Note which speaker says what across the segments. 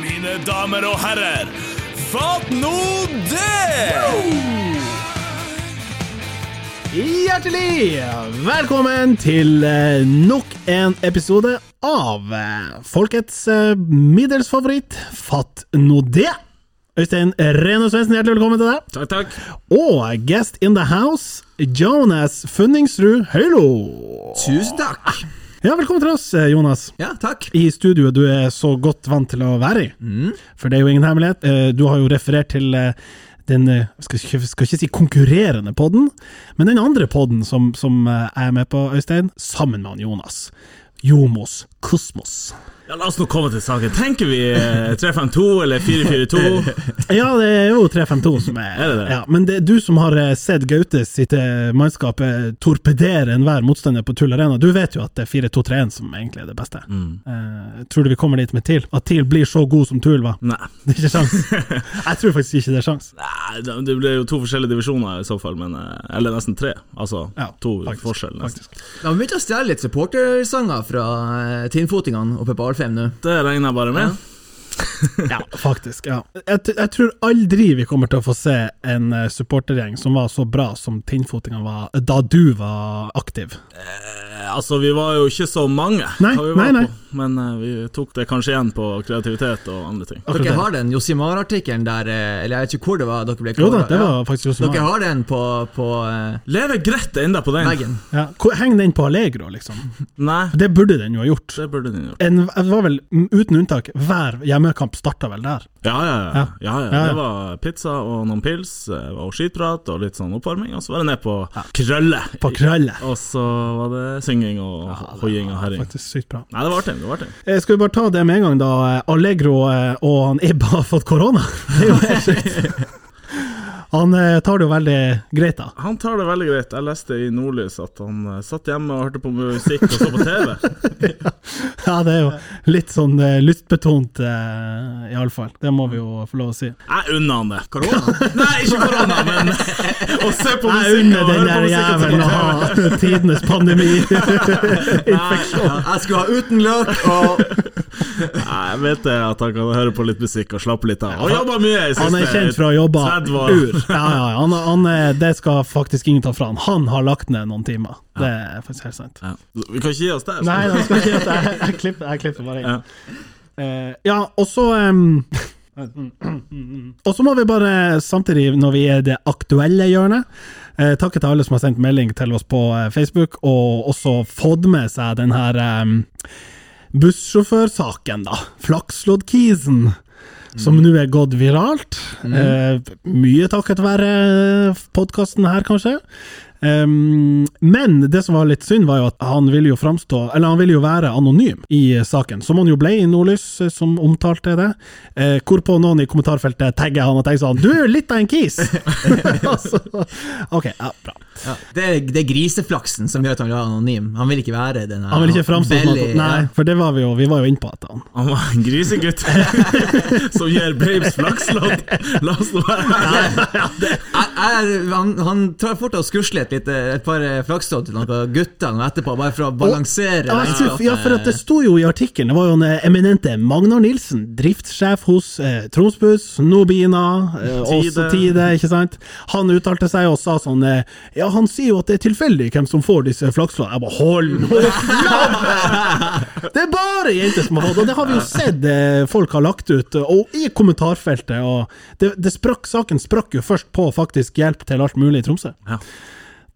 Speaker 1: mine damer og herrer. Fatt nå det!
Speaker 2: Hjertelig velkommen til eh, nok en episode av eh, folkets eh, middels favoritt, Fatt nå det. Øystein Reno Svendsen, hjertelig velkommen til deg.
Speaker 3: Takk, takk.
Speaker 2: Og guest in the house, Jonas Funningsrud Høylo.
Speaker 3: Tusen takk.
Speaker 2: Ja, velkommen til oss, eh, Jonas.
Speaker 3: Ja, takk.
Speaker 2: I studioet du er så godt vant til å være i. For det er jo ingen hemmelighet. Eh, Du har jo referert til eh, den eh, skal ikke, skal ikke si konkurrerende podden, men den andre podden som, som eh, jeg er med på, Øystein, sammen med han Jonas. Jomos Kosmos.
Speaker 1: Ja, La oss nå komme til saken. Tenker vi eh, 352 eller 442?
Speaker 2: Ja, det er jo 352 som er,
Speaker 1: Er det det?
Speaker 2: Ja, Men det er du som har eh, sett Gaute sitt eh, mannskap eh, torpedere enhver motstander på Tull Arena. Du vet jo at det er 4-2-3-1 som egentlig er det beste.
Speaker 1: Mm.
Speaker 2: Eh, tror du vi kommer dit med TIL? At TIL blir så god som TUL, hva?
Speaker 1: Nei.
Speaker 2: Det er ikke sjans. Jeg tror faktisk ikke det er sjans.
Speaker 1: Nei, det det ble jo to forskjellige divisjoner i så fall, men eh, Eller nesten tre. Altså
Speaker 2: Ja,
Speaker 1: to
Speaker 2: faktisk,
Speaker 1: forskjell, nesten.
Speaker 2: faktisk.
Speaker 3: Da har vi begynt å stjele litt supportersanger fra eh, Tinnfotingene oppe på Alfheim nå.
Speaker 1: Det regner jeg bare med.
Speaker 2: Ja, faktisk. Ja. Jeg, t- jeg tror aldri vi kommer til å få se en eh, supportergjeng som var så bra som Tinnfotinga var da du var aktiv.
Speaker 1: Eh, Altså, vi var jo ikke så mange,
Speaker 2: Nei,
Speaker 1: hva vi var
Speaker 2: nei, nei.
Speaker 1: på, men eh, vi tok det kanskje igjen på kreativitet og andre ting.
Speaker 2: Akkurat
Speaker 3: Dere
Speaker 2: det.
Speaker 3: har den Josimar-artikkelen der eh, Eller jeg vet ikke hvor det var dere ble
Speaker 2: Jo da,
Speaker 3: kåret.
Speaker 2: det
Speaker 3: Ja.
Speaker 2: var faktisk Josimar.
Speaker 3: Dere har den på, på eh,
Speaker 1: Lever greit enda på den.
Speaker 3: veggen.
Speaker 2: Ja. Hvor- Heng den på Allegro, liksom.
Speaker 1: Nei,
Speaker 2: Det burde den jo ha gjort.
Speaker 1: det burde den gjort.
Speaker 2: En, det var vel, mm, uten unntak, hver hjemmekamp starta vel der.
Speaker 1: Ja ja ja.
Speaker 2: Ja.
Speaker 1: ja, ja.
Speaker 2: Ja, ja.
Speaker 1: Det var pizza og noen pils eh, og skitprat og litt sånn oppvarming, og så var det ned på krølle.
Speaker 2: På krølle.
Speaker 1: Og så var det synging og hoiing og herring.
Speaker 2: Faktisk sykt bra.
Speaker 1: Nei, det var artig. det var artig.
Speaker 2: Eh, Skal vi bare ta det med en gang, da. Allegro eh, og han Ibba har fått korona. Det er jo helt sjukt. Han eh, tar det jo veldig greit, da.
Speaker 1: Han tar det veldig greit. Jeg leste i Nordlys at han eh, satt hjemme og hørte på musikk og så på TV.
Speaker 2: Ja, det er jo litt sånn eh, lystbetont, eh, iallfall. Det må vi jo få lov å si.
Speaker 1: Jeg unner han det. Nei, ikke korona, men å se
Speaker 2: Jeg
Speaker 1: på musikk
Speaker 2: unner
Speaker 1: og
Speaker 2: den
Speaker 1: høre på
Speaker 2: der
Speaker 1: musikk. og se på
Speaker 2: jævelen å
Speaker 1: TV.
Speaker 2: ha tidenes pandemi.
Speaker 3: Ja, jeg skulle ha uten løk og
Speaker 1: Nei, jeg vet det at han kan høre på litt musikk og slappe litt av. Og jobba mye i siste
Speaker 2: Han er kjent for å jobbe
Speaker 1: 30 år.
Speaker 2: ur. Ja, ja, ja. han, han er, det skal faktisk ingen ta fra han. Han har lagt ned noen timer. Det er faktisk helt sant.
Speaker 1: Ja. Vi kan ikke gi oss der.
Speaker 2: Nei, han skal ikke gjøre det. Jeg, jeg, klipper, jeg klipper bare inn.
Speaker 1: Ja.
Speaker 2: Eh, ja, og så em, Og så må vi bare, samtidig når vi er i det aktuelle hjørnet, eh, takke til alle som har sendt melding til oss på eh, Facebook, og også fått med seg den her em, bussjåførsaken, da. Flakslodd-kisen. Som nå er gått viralt. Eh, mye takket være podkasten her, kanskje. Ehm, men det som var litt synd, var jo at han ville jo framstå Eller han ville jo være anonym i eh, saken, som han jo ble i Nordlys, eh, som omtalte det. Eh, hvorpå noen i kommentarfeltet tagger han og tenker sånn Du er jo litt av en kis! altså, ok, ja, bra.
Speaker 3: ja. det, er, det er griseflaksen som gjør at han er anonym. Han vil ikke være den her
Speaker 2: Han ville ikke framstå som
Speaker 3: veldig-
Speaker 2: at Nei, for det var vi jo Vi var jo inne på at han
Speaker 1: Han var en grisegutt som gir babes flakslodd. La oss nå være
Speaker 3: Jeg, jeg, han, han tar fort og skusler et, lite, et par eh, flakslodd til noen gutter nå etterpå, bare for å balansere.
Speaker 2: Ja, jeg skulle-
Speaker 1: liksom.
Speaker 3: regnskapet.
Speaker 2: ja, for at det sto jo i artikkelen, det var jo en eh, eminente Magnar Nilsen, driftssjef hos eh, Tromsbuss, Nobina, eh, også
Speaker 1: Tide.
Speaker 2: Tide, ikke sant? Han uttalte seg og sa sånn eh, Ja, han sier jo at det er tilfeldig hvem som får disse flaksloddene. Jeg bare hold nå flamme! Det er bare jenter som har fått, og det har vi jo sett eh, folk har lagt ut, og i kommentarfeltet, og det, det sprakk, saken sprakk jo først på faktisk hjelp til alt mulig i Tromsø.
Speaker 1: Ja.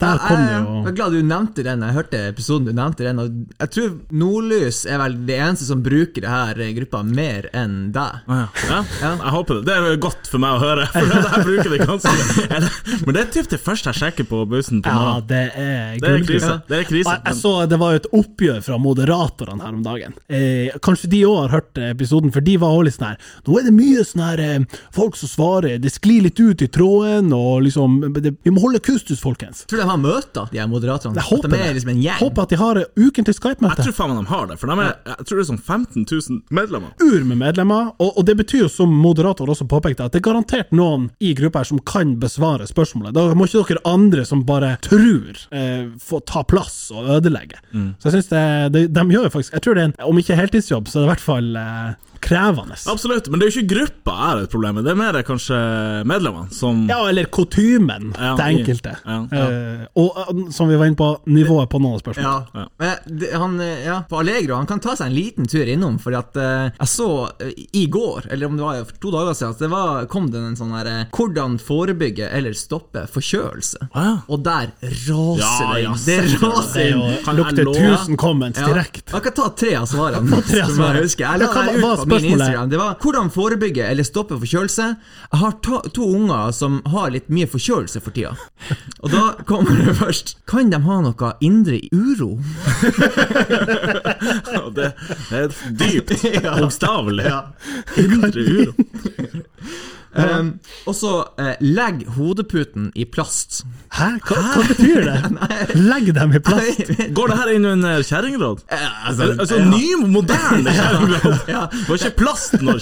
Speaker 2: Der kom det
Speaker 3: Jeg
Speaker 2: jo
Speaker 3: er glad du nevnte den. Jeg hørte episoden du nevnte den. Og jeg tror Nordlys er vel det eneste som bruker det her eh, gruppa mer enn deg.
Speaker 1: Ja, jeg håper det. Det er godt for meg å høre, for jeg bruker det ganske Eller- Men det er typ det første jeg sjekker på bussen på
Speaker 2: Ja,
Speaker 1: morgenen.
Speaker 2: det er
Speaker 1: Det er
Speaker 2: gullgruve.
Speaker 1: krise. Det er krise.
Speaker 2: Og Jeg, jeg så det var jo et oppgjør fra moderatorene her om dagen. Eh, kanskje de òg har hørt episoden, for de var også litt sånn her Nå er det mye sånn her eh, folk som svarer, det sklir litt ut i tråden, og liksom det, Vi må holde kustus, folkens.
Speaker 3: Tror du de har møter, de her moderatorene?
Speaker 2: Jeg håper
Speaker 3: At de er liksom en
Speaker 2: det.
Speaker 3: gjeng?
Speaker 2: Håper at de har ukentlig
Speaker 1: Jeg
Speaker 2: Skype-møte.
Speaker 1: tror faen meg de har det, for de er, jeg tror det er sånn 15 000 medlemmer.
Speaker 2: ur med medlemmer, og, og det betyr jo som moderator også påpekte, at det er garantert noen i gruppa her som kan besvare spørsmålet. Da må ikke dere andre som bare tror, eh, få ta plass og
Speaker 1: Mm.
Speaker 2: ødelegge. Så jeg synes det, det, de gjør jo faktisk Jeg tror det er en, om ikke heltidsjobb, så er det i hvert fall eh, krevende.
Speaker 1: Absolutt, men det er jo ikke gruppa er et problem, det er mer kanskje medlemmene som
Speaker 2: Ja, eller kutymen
Speaker 1: Ja,
Speaker 2: til enkelte.
Speaker 1: ja,
Speaker 2: Eh, og eh, som vi var inne på, nivået på noen spørsmål.
Speaker 3: Ja.
Speaker 1: Ja.
Speaker 3: Men det- han, eh, ja, på Allegro han kan ta seg en liten tur innom, fordi at eh, jeg så eh, i går, eller om det var for to dager siden, at det var, kom det en sånn her eh, 'Hvordan forebygge eller stoppe forkjølelse'.
Speaker 1: Ah, ja.
Speaker 3: Og der raser
Speaker 1: Ja,
Speaker 3: det
Speaker 1: ja,
Speaker 3: inn! Det
Speaker 2: Det
Speaker 3: raser
Speaker 2: er
Speaker 3: inn!
Speaker 2: jo,
Speaker 1: Kan jeg
Speaker 2: lukter
Speaker 1: love-
Speaker 2: 1000 comments
Speaker 3: Ja.
Speaker 2: direkte.
Speaker 3: Jeg kan ta tre av svarene.
Speaker 2: tre av
Speaker 3: som
Speaker 2: svarene.
Speaker 3: Jeg husker Jeg
Speaker 2: Ja,
Speaker 3: la
Speaker 2: hva-
Speaker 3: det ut
Speaker 2: hva
Speaker 3: på
Speaker 2: er
Speaker 3: min
Speaker 2: spørsmålet?
Speaker 3: Instagram. Det var 'Hvordan forebygge eller stoppe forkjølelse'. Jeg har to, to unger som har litt mye forkjølelse for tida. Og da kommer det først Kan de ha noe indre uro?
Speaker 1: det, det er dypt,
Speaker 3: Ja.
Speaker 1: bokstavelig. Indre uro.
Speaker 3: Um, og så eh, legg hodeputen i plast.
Speaker 2: Hæ? Hva, hva betyr det? Legg dem i plass.
Speaker 1: Går det her inn under kjerringråd?
Speaker 3: altså,
Speaker 1: Altså, altså ny, moderne kjerringråd! Det var ikke plast når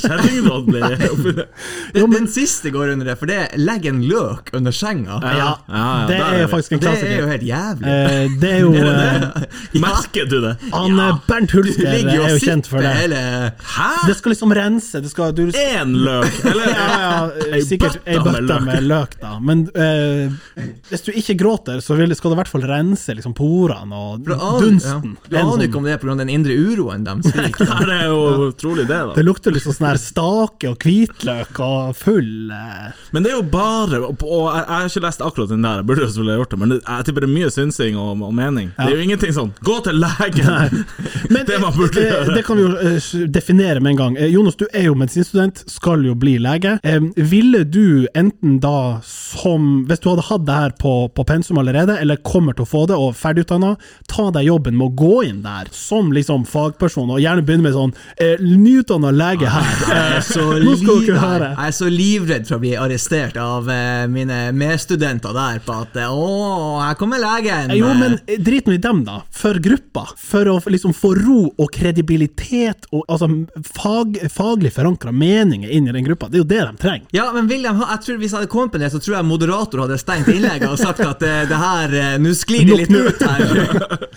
Speaker 1: kjerringråd ble oppfunnet.
Speaker 3: den, den siste går under det, for det er legg en løk under senga.
Speaker 2: Ja,
Speaker 1: ja,
Speaker 2: det
Speaker 1: der
Speaker 2: er
Speaker 1: er
Speaker 2: jo
Speaker 1: vi.
Speaker 2: faktisk en
Speaker 3: Det er jo
Speaker 2: klassiker.
Speaker 3: helt jævlig.
Speaker 2: Eh, det er jo eh,
Speaker 1: Merker du det?
Speaker 2: Han eh, Bernt
Speaker 3: Du
Speaker 2: Hulsker
Speaker 3: ligger
Speaker 2: er
Speaker 3: jo
Speaker 2: jo
Speaker 3: og
Speaker 2: kjent for
Speaker 3: sipper
Speaker 2: det.
Speaker 3: hele
Speaker 1: Hæ?
Speaker 2: Det skal liksom rense. Det skal, du,
Speaker 1: Én løk? Eller
Speaker 2: ja, ja,
Speaker 1: Ei
Speaker 2: sikkert ei
Speaker 1: bøtte med
Speaker 2: bøtte
Speaker 1: løk.
Speaker 2: med løk, da. Men eh, hvis du ikke gråter, så vil, skal du i hvert fall rense liksom, porene og
Speaker 3: Du aner-
Speaker 2: dunsten.
Speaker 3: Ja.
Speaker 2: En
Speaker 3: Du aner
Speaker 2: sånn-
Speaker 3: jo ikke om det er pga. den indre uroen deres.
Speaker 1: Ja, det er jo trolig det, da.
Speaker 2: det lukter liksom sånn her stake og hvitløk og full eh,
Speaker 1: Men det er jo bare Og og jeg jeg har ikke lest akkurat den der, jeg burde jo selvfølgelig ha gjort det, men det- jeg tipper det er mye synsing og, og mening. Det er jo ingenting sånn 'gå til legen'!
Speaker 2: Men
Speaker 1: Det man burde
Speaker 2: eh,
Speaker 1: gjøre.
Speaker 2: det kan vi jo eh, definere med en gang. Eh, Jonas, du er jo medisinstudent, skal jo bli lege. Eh, ville du enten da som Hvis du hadde hatt det her på, på pensum allerede, eller kommer til å få det og er ferdigutdanna, ta deg jobben med å gå inn der som liksom fagperson, og gjerne begynne med sånn eh, nyutdanna lege her. eh,
Speaker 3: Jeg er så
Speaker 2: Nå skal dere
Speaker 3: livredd-
Speaker 2: høre.
Speaker 3: Jeg er så livredd for å bli arrestert av eh, mine medstudenter der på at eh, Å, her kommer legen!
Speaker 2: Eh, Jo, men eh, drit nå i dem, da. For gruppa. For å f- liksom få ro og kredibilitet og altså, fag, faglig forankra meninger inn i den gruppa. Det er jo det de trenger.
Speaker 3: Ja, men William, jeg tror Hvis jeg hadde kommet med det, så tror jeg moderator hadde stengt innlegget og sagt at eh, det her eh, Nå sklir det litt
Speaker 2: Nok
Speaker 3: ut her.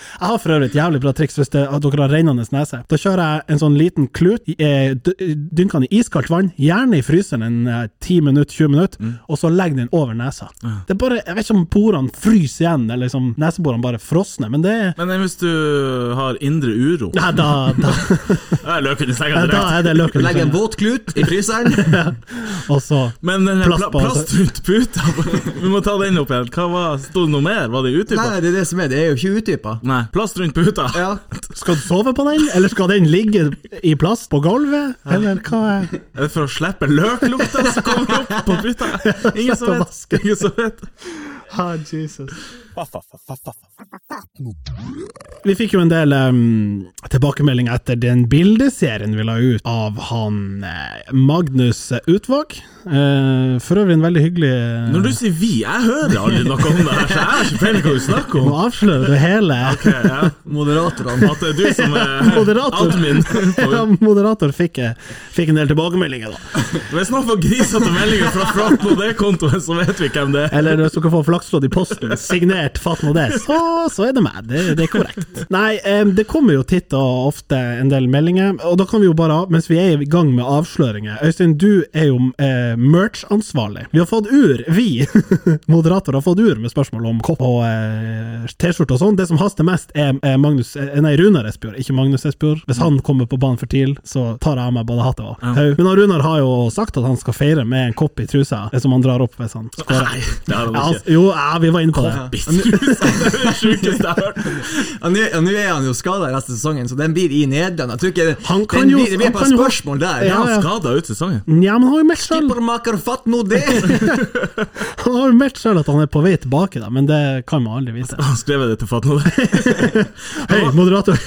Speaker 2: Jeg har for øvrig et jævlig bra triks hvis det, at dere har rennende nese. Da kjører jeg en sånn liten klut, i- eh, d- dynker den i iskaldt vann, gjerne i fryseren en eh, 10 minutter, 20 minutter,
Speaker 3: Mm.
Speaker 2: og så legger den over nesa. Det er bare, Jeg vet ikke om porene fryser igjen, eller liksom neseborene bare frosner, men det er
Speaker 1: Men eh, hvis du har indre uro
Speaker 2: Nei, da, da,
Speaker 1: Jeg løk under senga
Speaker 2: da,
Speaker 1: direkte.
Speaker 2: er det løken.
Speaker 3: Legg en
Speaker 2: som-
Speaker 3: våt klut i fryseren.
Speaker 2: Og så
Speaker 1: Men den
Speaker 2: Plast
Speaker 1: pla
Speaker 2: på, altså.
Speaker 1: plast ut puta Vi må ta den opp igjen. Hva var Sto det noe mer? Var det
Speaker 3: Nei,
Speaker 1: utdypa?
Speaker 3: nei, det er det som er. Det er jo ikke utdypa.
Speaker 1: Nei. Plast rundt puta.
Speaker 3: Ja.
Speaker 2: Skal du sove på den, eller skal den ligge i plast på gulvet, eller hva? er-
Speaker 1: Er det for å slippe løklukta som kommer opp på puta? Ingen som vet. Ingen som vet.
Speaker 2: Ah, Jesus. Vi fikk jo en del um, tilbakemeldinger etter den bildeserien vi la ut av han eh, Magnus Utvåg. Eh, for øvrig en veldig hyggelig
Speaker 1: Når du sier 'vi', jeg hører aldri noe om det her, så jeg har ikke peiling hva du snakker om.
Speaker 2: Nå avslører du hele
Speaker 1: Ok, ja.
Speaker 3: Moderatorene.
Speaker 1: At det er du som er
Speaker 2: Moderator.
Speaker 1: admin.
Speaker 2: ja, Moderator fikk, eh, fikk en del tilbakemeldinger, da.
Speaker 1: Hvis noen får grisete meldinger fra Frat på det kontoen, så vet vi hvem det er.
Speaker 2: Eller hvis dere får flakslodd i posten, signert Fatno det, så, så er det meg. Det, det er korrekt. Nei, eh, det kommer jo titt og ofte en del meldinger, og da kan vi jo bare, mens vi er i gang med avsløringer Øystein, du er jo eh, merch-ansvarlig. Vi har fått ur, vi moderatorer har fått ur med spørsmål om kopp og eh, T-skjorte og sånn. Det som haster mest, er eh, Magnus eh, Nei, Runar Espejord, ikke Magnus Espejord. Hvis han kommer på banen for tidlig, så tar jeg av meg både hatt og haug. Men han Runar har jo sagt at han skal feire med en kopp i trusa, det som han drar opp hvis han skårer.
Speaker 1: Nei, det har
Speaker 2: Ja,
Speaker 1: han
Speaker 2: altså,
Speaker 1: ikke.
Speaker 2: jo, ja, vi var inne på det.
Speaker 1: Bitchkuse, det er det sjukeste jeg har hørt.
Speaker 3: Ja, Nå ja, nå er han jo skada resten av sesongen, så den blir i Nederland. Jeg tror ikke
Speaker 2: Han kan
Speaker 3: den
Speaker 2: jo-
Speaker 3: blir, Det blir
Speaker 2: han
Speaker 3: et par
Speaker 2: kan jo-
Speaker 3: spørsmål der.
Speaker 2: Ja, ja.
Speaker 1: Skada ut sesongen.
Speaker 2: Ja, men han har jo meldt selv-
Speaker 3: Skippermaker, fatt nå det!
Speaker 2: han har jo meldt sjøl at han er på vei tilbake, da, men det kan man aldri vite.
Speaker 1: Han skrev det til Fat nå.
Speaker 2: Hei, moderator.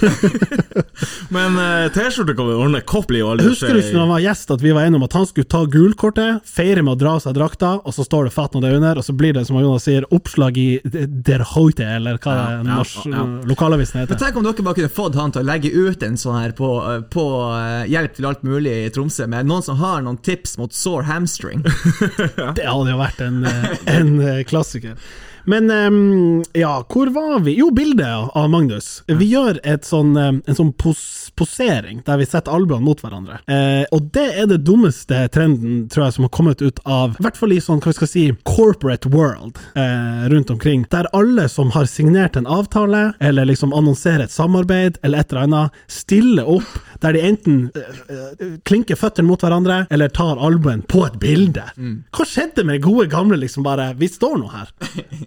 Speaker 1: Men eh, T-skjorte kan vi ordne. Kopp blir jo aldri
Speaker 2: Husker du ikke når han var gjest at vi var enige om at han skulle ta gulkortet, feire med å dra av seg drakta, og så står det Fatno det under, og så blir det, som Jonas sier, oppslag i Der Hoite, eller hva
Speaker 1: Ja, ja,
Speaker 2: norsk,
Speaker 1: ja.
Speaker 2: lokalavisen heter.
Speaker 3: Tenk om dere bare kunne fått han til å legge ut en sånn her på, på eh, Hjelp til alt mulig i Tromsø, med noen som har noen tips mot sore hamstring.
Speaker 2: Det hadde jo vært en, eh, en eh, klassiker. Men ehm, ja, hvor var vi? Jo, bildet av Magnus. Vi gjør et sånn, ehm, en sånn pos posering, der vi setter albuene mot hverandre. Eh, og det er det dummeste trenden, tror jeg, som har kommet ut av, i hvert fall i sånn, hva vi skal si, corporate world eh, rundt omkring, der alle som har signert en avtale, eller liksom annonserer et samarbeid, eller et eller annet, stiller opp, der de enten eh, eh, klinker føttene mot hverandre, eller tar albuen på et bilde. Hva skjedde med gode gamle, liksom bare, vi står nå her?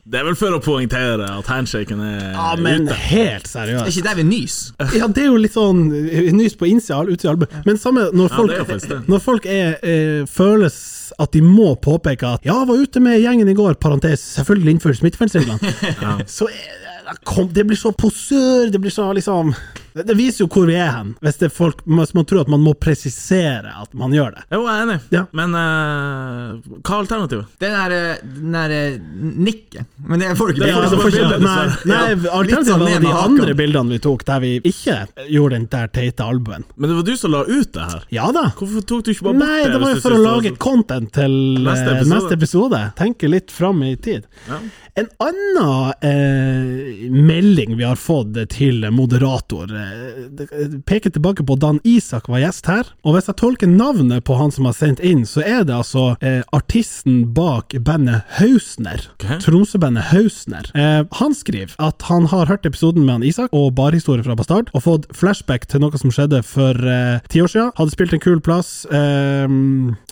Speaker 1: Det er vel for å poengtere at handshaken er
Speaker 2: Ja, Ah, men helt
Speaker 3: Er
Speaker 2: seriøst.
Speaker 3: ikke der vi nyser?
Speaker 2: Ja, det er jo litt sånn eh, nys på innsida og utsida av albuen. Men samme når folk,
Speaker 1: det er jo faktisk det.
Speaker 2: når folk er, eh, føles at de må påpeke at 'ja, var ute med gjengen i går', parentes, selvfølgelig innenfor smittevernreglene, så er- da kom, det blir så posør, det blir så liksom Det det viser jo hvor vi er hen, hvis, det er folk, hvis man tror at man må presisere at man gjør det.
Speaker 1: Jo, jeg er enig,
Speaker 2: Ja.
Speaker 1: men eh, hva er alternativet?
Speaker 3: Den der, eh, den der eh, nikket. Men det får du ikke
Speaker 1: Det er
Speaker 3: bilde
Speaker 1: altså
Speaker 3: av.
Speaker 1: for- bildet,
Speaker 2: nei, nei,
Speaker 3: dessverre. Ja, litt
Speaker 2: alternativet
Speaker 3: sånn
Speaker 2: var
Speaker 3: ned
Speaker 2: de
Speaker 3: med haken.
Speaker 2: andre bildene vi tok der vi ikke gjorde den der teite albuen.
Speaker 1: Men det var du som la ut det her.
Speaker 2: Ja da.
Speaker 1: Hvorfor tok du ikke bare bort
Speaker 2: Nei, det var jo
Speaker 1: hvis du
Speaker 2: for å
Speaker 1: synes
Speaker 2: lage
Speaker 1: var så-
Speaker 2: content til
Speaker 1: Neste
Speaker 2: neste episode.
Speaker 1: episode.
Speaker 2: Neste episode. Tenke litt fram i tid.
Speaker 1: Ja.
Speaker 2: En annen eh, melding vi har fått eh, til moderator, eh, det- peker tilbake på Dan Isak var gjest her. Og hvis jeg tolker navnet på han som har sendt inn, så er det altså eh, artisten bak bandet Hausner.
Speaker 1: Ok.
Speaker 2: Tromsøbandet Hausner. Eh, han skriver at han har hørt episoden med han Isak og barhistorie fra Bastard, og fått flashback til noe som skjedde for eh, ti år siden. Hadde spilt en kul plass eh,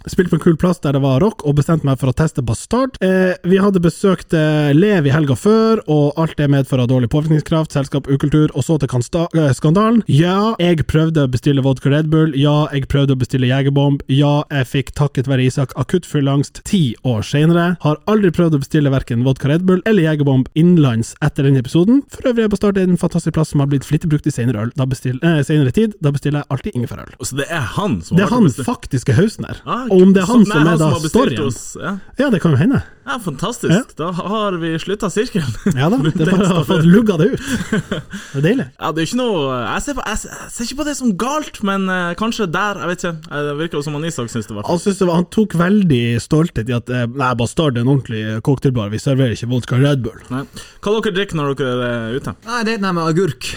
Speaker 2: Spilt på en kul plass der det var rock, og bestemte meg for å teste Bastard. Eh, vi hadde besøkt eh, Lev i helga før, og alt det medfører dårlig påvirkningskraft, selskap, ukultur, og så til kansta- eh, skandalen. Ja, jeg prøvde å bestille vodka Red Bull. Ja, jeg prøvde å bestille Jegerbomb. Ja, jeg fikk takket være Isak akutt fylleangst ti år senere. Har aldri prøvd å bestille verken vodka Red Bull eller Jegerbomb innenlands etter denne episoden. For øvrig er Bastard en fantastisk plass som har blitt flittig brukt i senere, øl. Da bestill, eh, senere tid. Da bestiller jeg alltid ingefærøl.
Speaker 1: Så det er han som
Speaker 2: Det er
Speaker 1: har
Speaker 2: han
Speaker 1: vært og bestilt-
Speaker 2: faktiske hausen her.
Speaker 1: Ah,
Speaker 2: Og om det er han
Speaker 1: så-
Speaker 2: som
Speaker 1: nei,
Speaker 2: er da
Speaker 1: har bestilt
Speaker 2: storyen.
Speaker 1: oss, Ja.
Speaker 2: Ja, det kan jo hende.
Speaker 1: ja, fantastisk. Da har vi slutta sirkelen.
Speaker 2: Ja da, det er bare å få lugga det ut. Det er deilig.
Speaker 1: Ja, det er ikke noe jeg ser, på, jeg, ser, jeg ser ikke på det som galt, men eh, kanskje der, jeg vet ikke. Eh, Det virker jo som han Isak syns det var
Speaker 2: Han, synes det var, han tok veldig stolthet i at eh, Nei, Bastard er en ordentlig eh, cocktailbar, vi serverer ikke vodka Red Bull.
Speaker 1: Nei. Hva dere drikker når dere er ute?
Speaker 3: Nei, det er den der med agurk.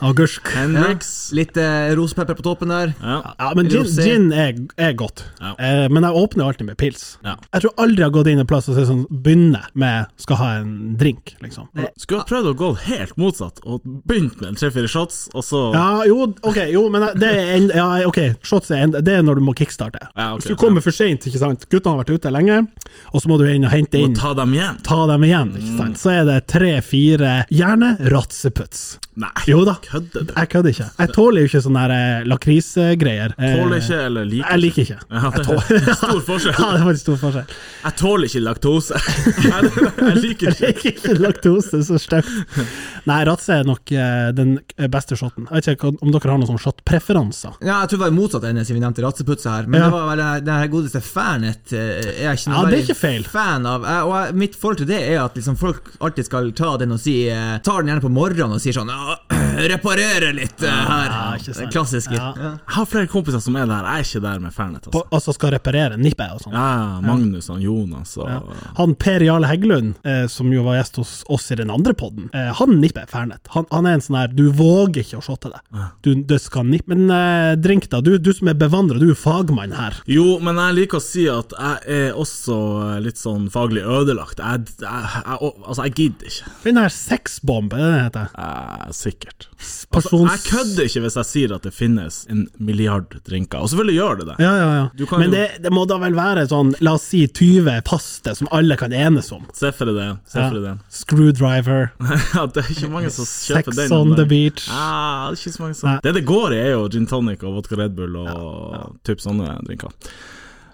Speaker 2: Agursk.
Speaker 1: Hendrix?
Speaker 3: Litt eh, rosepepper på toppen der.
Speaker 1: Ja.
Speaker 2: Ja, men gin,
Speaker 3: Rosé.
Speaker 2: gin er, er godt,
Speaker 1: Ja.
Speaker 2: eh, men jeg åpner jo alltid med pils.
Speaker 1: Ja.
Speaker 2: Jeg tror aldri jeg har gått inn en plass og sagt sånn, begynner med 'skal ha en drink', liksom.
Speaker 1: Skulle ha prøvd å gå helt motsatt, og begynt med en tre-fire shots, og så
Speaker 2: Ja, jo, ok, jo, men det er, en, ja, ok, shots er en, det er når du må kickstarte.
Speaker 1: Ja, ok,
Speaker 2: Hvis du kommer for seint, ikke sant, guttene har vært ute lenge, og så må du inn og hente
Speaker 1: og
Speaker 2: inn,
Speaker 1: ta Mm. dem igjen.
Speaker 2: ta dem igjen, ikke sant, så er det tre-fire, gjerne ratseputs.
Speaker 1: Nei,
Speaker 2: Jo da.
Speaker 1: kødder du?
Speaker 2: Jeg kødder ikke. Jeg tåler jo ikke sånne her, eh, lakrisgreier. Eh,
Speaker 1: Tåler ikke eller liker
Speaker 2: Jeg liker ikke.
Speaker 1: Ja, det er stor forskjell.
Speaker 2: Ja, det er faktisk stor forskjell.
Speaker 1: Jeg tåler ikke laktose. Nei, det- Jeg liker
Speaker 2: Jeg
Speaker 1: ikke
Speaker 2: liker ikke laktose, så stygt. Nei, Ratse er nok eh, den beste shoten. Jeg vet ikke om dere har noen sånne shotpreferanser.
Speaker 3: Ja, jeg tror det var motsatt ende siden vi nevnte ratseputset her. Men
Speaker 2: Ja.
Speaker 3: det var vel den her godeste fanet eh, er jeg ikke noe
Speaker 2: Ja, det er
Speaker 3: veldig
Speaker 2: ikke feil.
Speaker 3: fan av. Jeg- Og jeg, mitt forhold til det er at liksom folk alltid skal ta den og si eh, Tar den gjerne på morgenen og sier sånn «Ja, Reparere litt eh, her.
Speaker 2: Ja, Ah, ikke sant.
Speaker 3: Den klassiske.
Speaker 2: Ja.
Speaker 3: Ja.
Speaker 1: Jeg har flere kompiser som er der. Jeg er ikke der med Fernet.
Speaker 2: På,
Speaker 1: Altså.
Speaker 2: altså skal reparere nippet og sånn.
Speaker 1: Ja, Magnus og Jonas og
Speaker 2: Han Per Jarle Heggelund, eh, som jo var gjest hos oss i den andre podden, eh, han nipper Fernet. Han, han er en sånn her Du våger ikke å shotte det. Du, det skal nippe. Men eh, drink, da. Du, du som er bevandra, du er fagmann her.
Speaker 1: Jo, men jeg liker å si at jeg er også eh, litt sånn faglig ødelagt. Jeg, jeg, jeg, altså, jeg gidder ikke.
Speaker 2: Den her sexbomb, er det det heter?
Speaker 1: Eh, sikkert.
Speaker 2: Persons...
Speaker 1: Altså, Jeg kødder ikke hvis jeg sier at det finnes en milliard drinker. Og selvfølgelig gjør det det.
Speaker 2: Ja, ja,
Speaker 1: Du
Speaker 2: ja.
Speaker 1: kan
Speaker 2: Men
Speaker 1: jo-
Speaker 2: det, det må da vel være sånn, la oss si 20 paste som alle kan enes om.
Speaker 1: Se for deg det. Se for deg det.
Speaker 2: Screwdriver,
Speaker 1: Ja, det er ikke mange som kjøper den.
Speaker 2: sex on the
Speaker 1: men-
Speaker 2: beach.
Speaker 1: Ah, det, er ikke så mange som...
Speaker 2: Nei.
Speaker 1: det det går i, er jo gin tonic og vodka Red Bull og typ sånne drinker.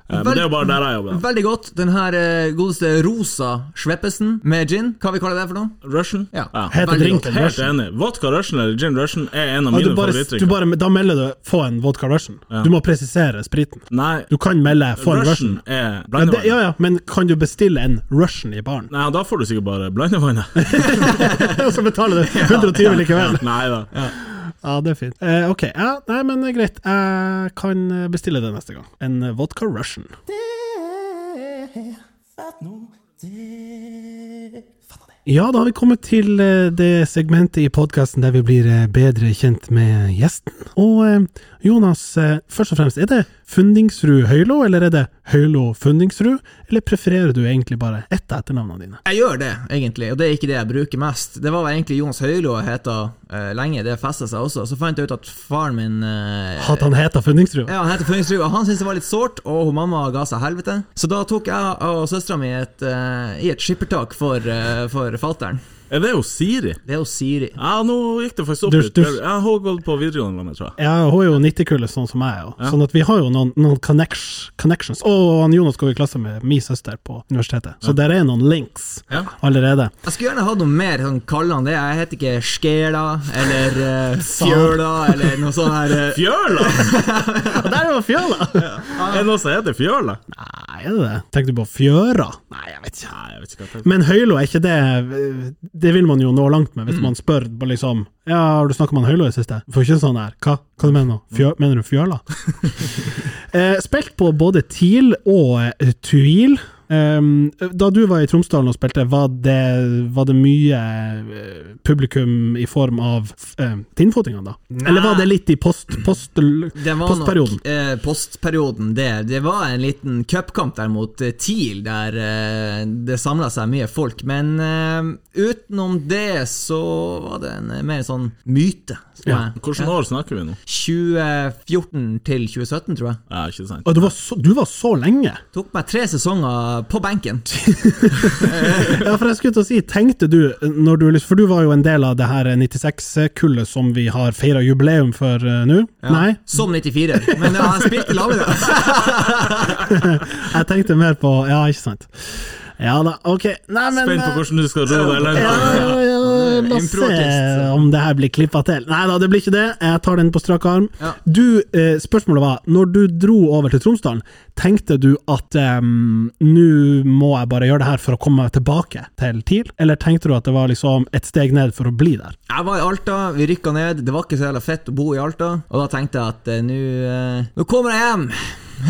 Speaker 1: Eh, men
Speaker 3: Vel-
Speaker 1: det er jo bare der jeg jobber.
Speaker 3: Veldig godt. Den her eh, godeste rosa Schweppesen med gin. Hva vi kaller det for noe?
Speaker 1: Russian?
Speaker 3: Ja.
Speaker 2: Heter
Speaker 1: veldig
Speaker 2: drinken
Speaker 1: godt. Helt
Speaker 2: Russian?
Speaker 1: enig. Vodka Russian eller gin Russian er en av
Speaker 2: Ja, du
Speaker 1: mine
Speaker 2: bare, du
Speaker 1: favorittdrinker.
Speaker 2: bare, da melder du 'få en vodka Russian'. Du må presisere spriten.
Speaker 1: Nei,
Speaker 2: Du kan melde 'få en
Speaker 1: Russian
Speaker 2: Russian'.
Speaker 1: er
Speaker 2: Ja, det,
Speaker 1: blandevann.
Speaker 2: ja, ja, men kan du bestille en Russian i baren?
Speaker 1: Nei, da får du sikkert bare blandevannet.
Speaker 2: Og så betaler du 120 likevel?
Speaker 1: Nei da.
Speaker 2: Ja, det er fint. Eh, ok, ja, nei, men eh, greit. Jeg kan eh, bestille det neste gang. En eh, vodka Russian.
Speaker 4: Det satt noe der
Speaker 2: Ja, da har vi kommet til eh, det segmentet i podkasten der vi blir eh, bedre kjent med gjesten. Og eh, Jonas, eh, først og fremst, er det Fundingsrud Høylo, eller er det Høylo Fundingsrud? Eller prefererer du egentlig bare ett av etternavnene dine?
Speaker 3: Jeg gjør det, egentlig, og det er ikke det jeg bruker mest. Det var egentlig Jonas Høilo jeg heta eh, lenge, det festa seg også. Så fant jeg ut at faren min eh,
Speaker 2: At han heter Fundingsrud?
Speaker 3: Ja, Han heter Funningsrud, og han syntes det var litt sårt, og hun mamma ga seg helvete. Så da tok jeg og søstera mi et, eh, i et skippertak for, eh, for fattern.
Speaker 1: Er det jo Siri?
Speaker 3: Det er jo Siri.
Speaker 1: Ja, nå gikk det faktisk opp
Speaker 2: Dusj,
Speaker 1: litt.
Speaker 2: dusj.
Speaker 1: Jeg har gått på videregående med meg, tror jeg.
Speaker 2: Ja, hun er jo 90-kullet, sånn som jeg er. jo. Sånn at vi har jo noen, noen connects- connections. Og han Jonas går i klasse med min søster på universitetet, så der er noen links
Speaker 1: Ja.
Speaker 2: allerede.
Speaker 3: Jeg skulle gjerne hatt noe mer sånn kallenavn. det. Jeg heter ikke Skjela eller eh, Fjøla eller noe sånt her. eh.
Speaker 1: Fjøla!
Speaker 2: Og der var fjøla!
Speaker 1: Er det noe som heter Fjøla?
Speaker 2: Nei, er det det? Tenkte du på fjøra? Nei, jeg vet ikke.
Speaker 1: Nei, jeg vet ikke hva det heter.
Speaker 2: Men Høylo er ikke det Det vil man jo nå langt med hvis
Speaker 3: Mm.
Speaker 2: man spør på liksom Ja, har du snakka med han Høylo i det siste? Får ikke sånn her. Hva, hva du mener nå? Fjø,
Speaker 3: Mm.
Speaker 2: mener du fjøla? eh, spilt på både TIL og eh, TUIL. Ehm, da du var i Tromsdalen og spilte, var det, var det mye eh, publikum i form av eh, tinnfotingene, da? Eller var det litt i post, post,
Speaker 3: Det var
Speaker 2: postperioden?
Speaker 3: nok eh, postperioden, det. Det var en liten cupkamp der mot eh, TIL, der eh, det samla seg mye folk. Men eh, utenom det så var det en eh, mer sånn myte. tror
Speaker 2: Ja.
Speaker 3: jeg.
Speaker 1: Hvilket år snakker vi nå?
Speaker 3: 2014 til 2017, tror jeg.
Speaker 1: Ja, ikke sant.
Speaker 2: Og du var så, du var så lenge?
Speaker 3: Tok meg tre sesonger på benken.
Speaker 2: Ja, for jeg skulle til å si, tenkte du, når du liksom- for du var jo en del av det her 96-kullet som vi har feira jubileum for eh, nå. Nei,
Speaker 3: Som 94-er. Men ja, jeg spilte lavere.
Speaker 2: jeg tenkte mer på Ja, ikke sant. Ja da, ok. Nei, men
Speaker 1: Spent på
Speaker 2: eh,
Speaker 1: hvordan du skal ro deg
Speaker 2: ja,
Speaker 1: langt.
Speaker 2: ja, ja, La oss se
Speaker 3: Improartist.
Speaker 2: om det her blir klippa til. Nei da, det blir ikke det. Jeg tar den på strak arm.
Speaker 3: Ja.
Speaker 2: Du, eh, spørsmålet var, når du dro over til Tromsdalen, tenkte du at eh, nå må jeg bare gjøre det her for å komme meg tilbake til TIL, eller tenkte du at det var liksom et steg ned for å bli der?
Speaker 3: Jeg var i Alta, vi rykka ned. Det var ikke så jævla fett å bo i Alta. Og da tenkte jeg at eh, nå eh, Nå kommer jeg hjem!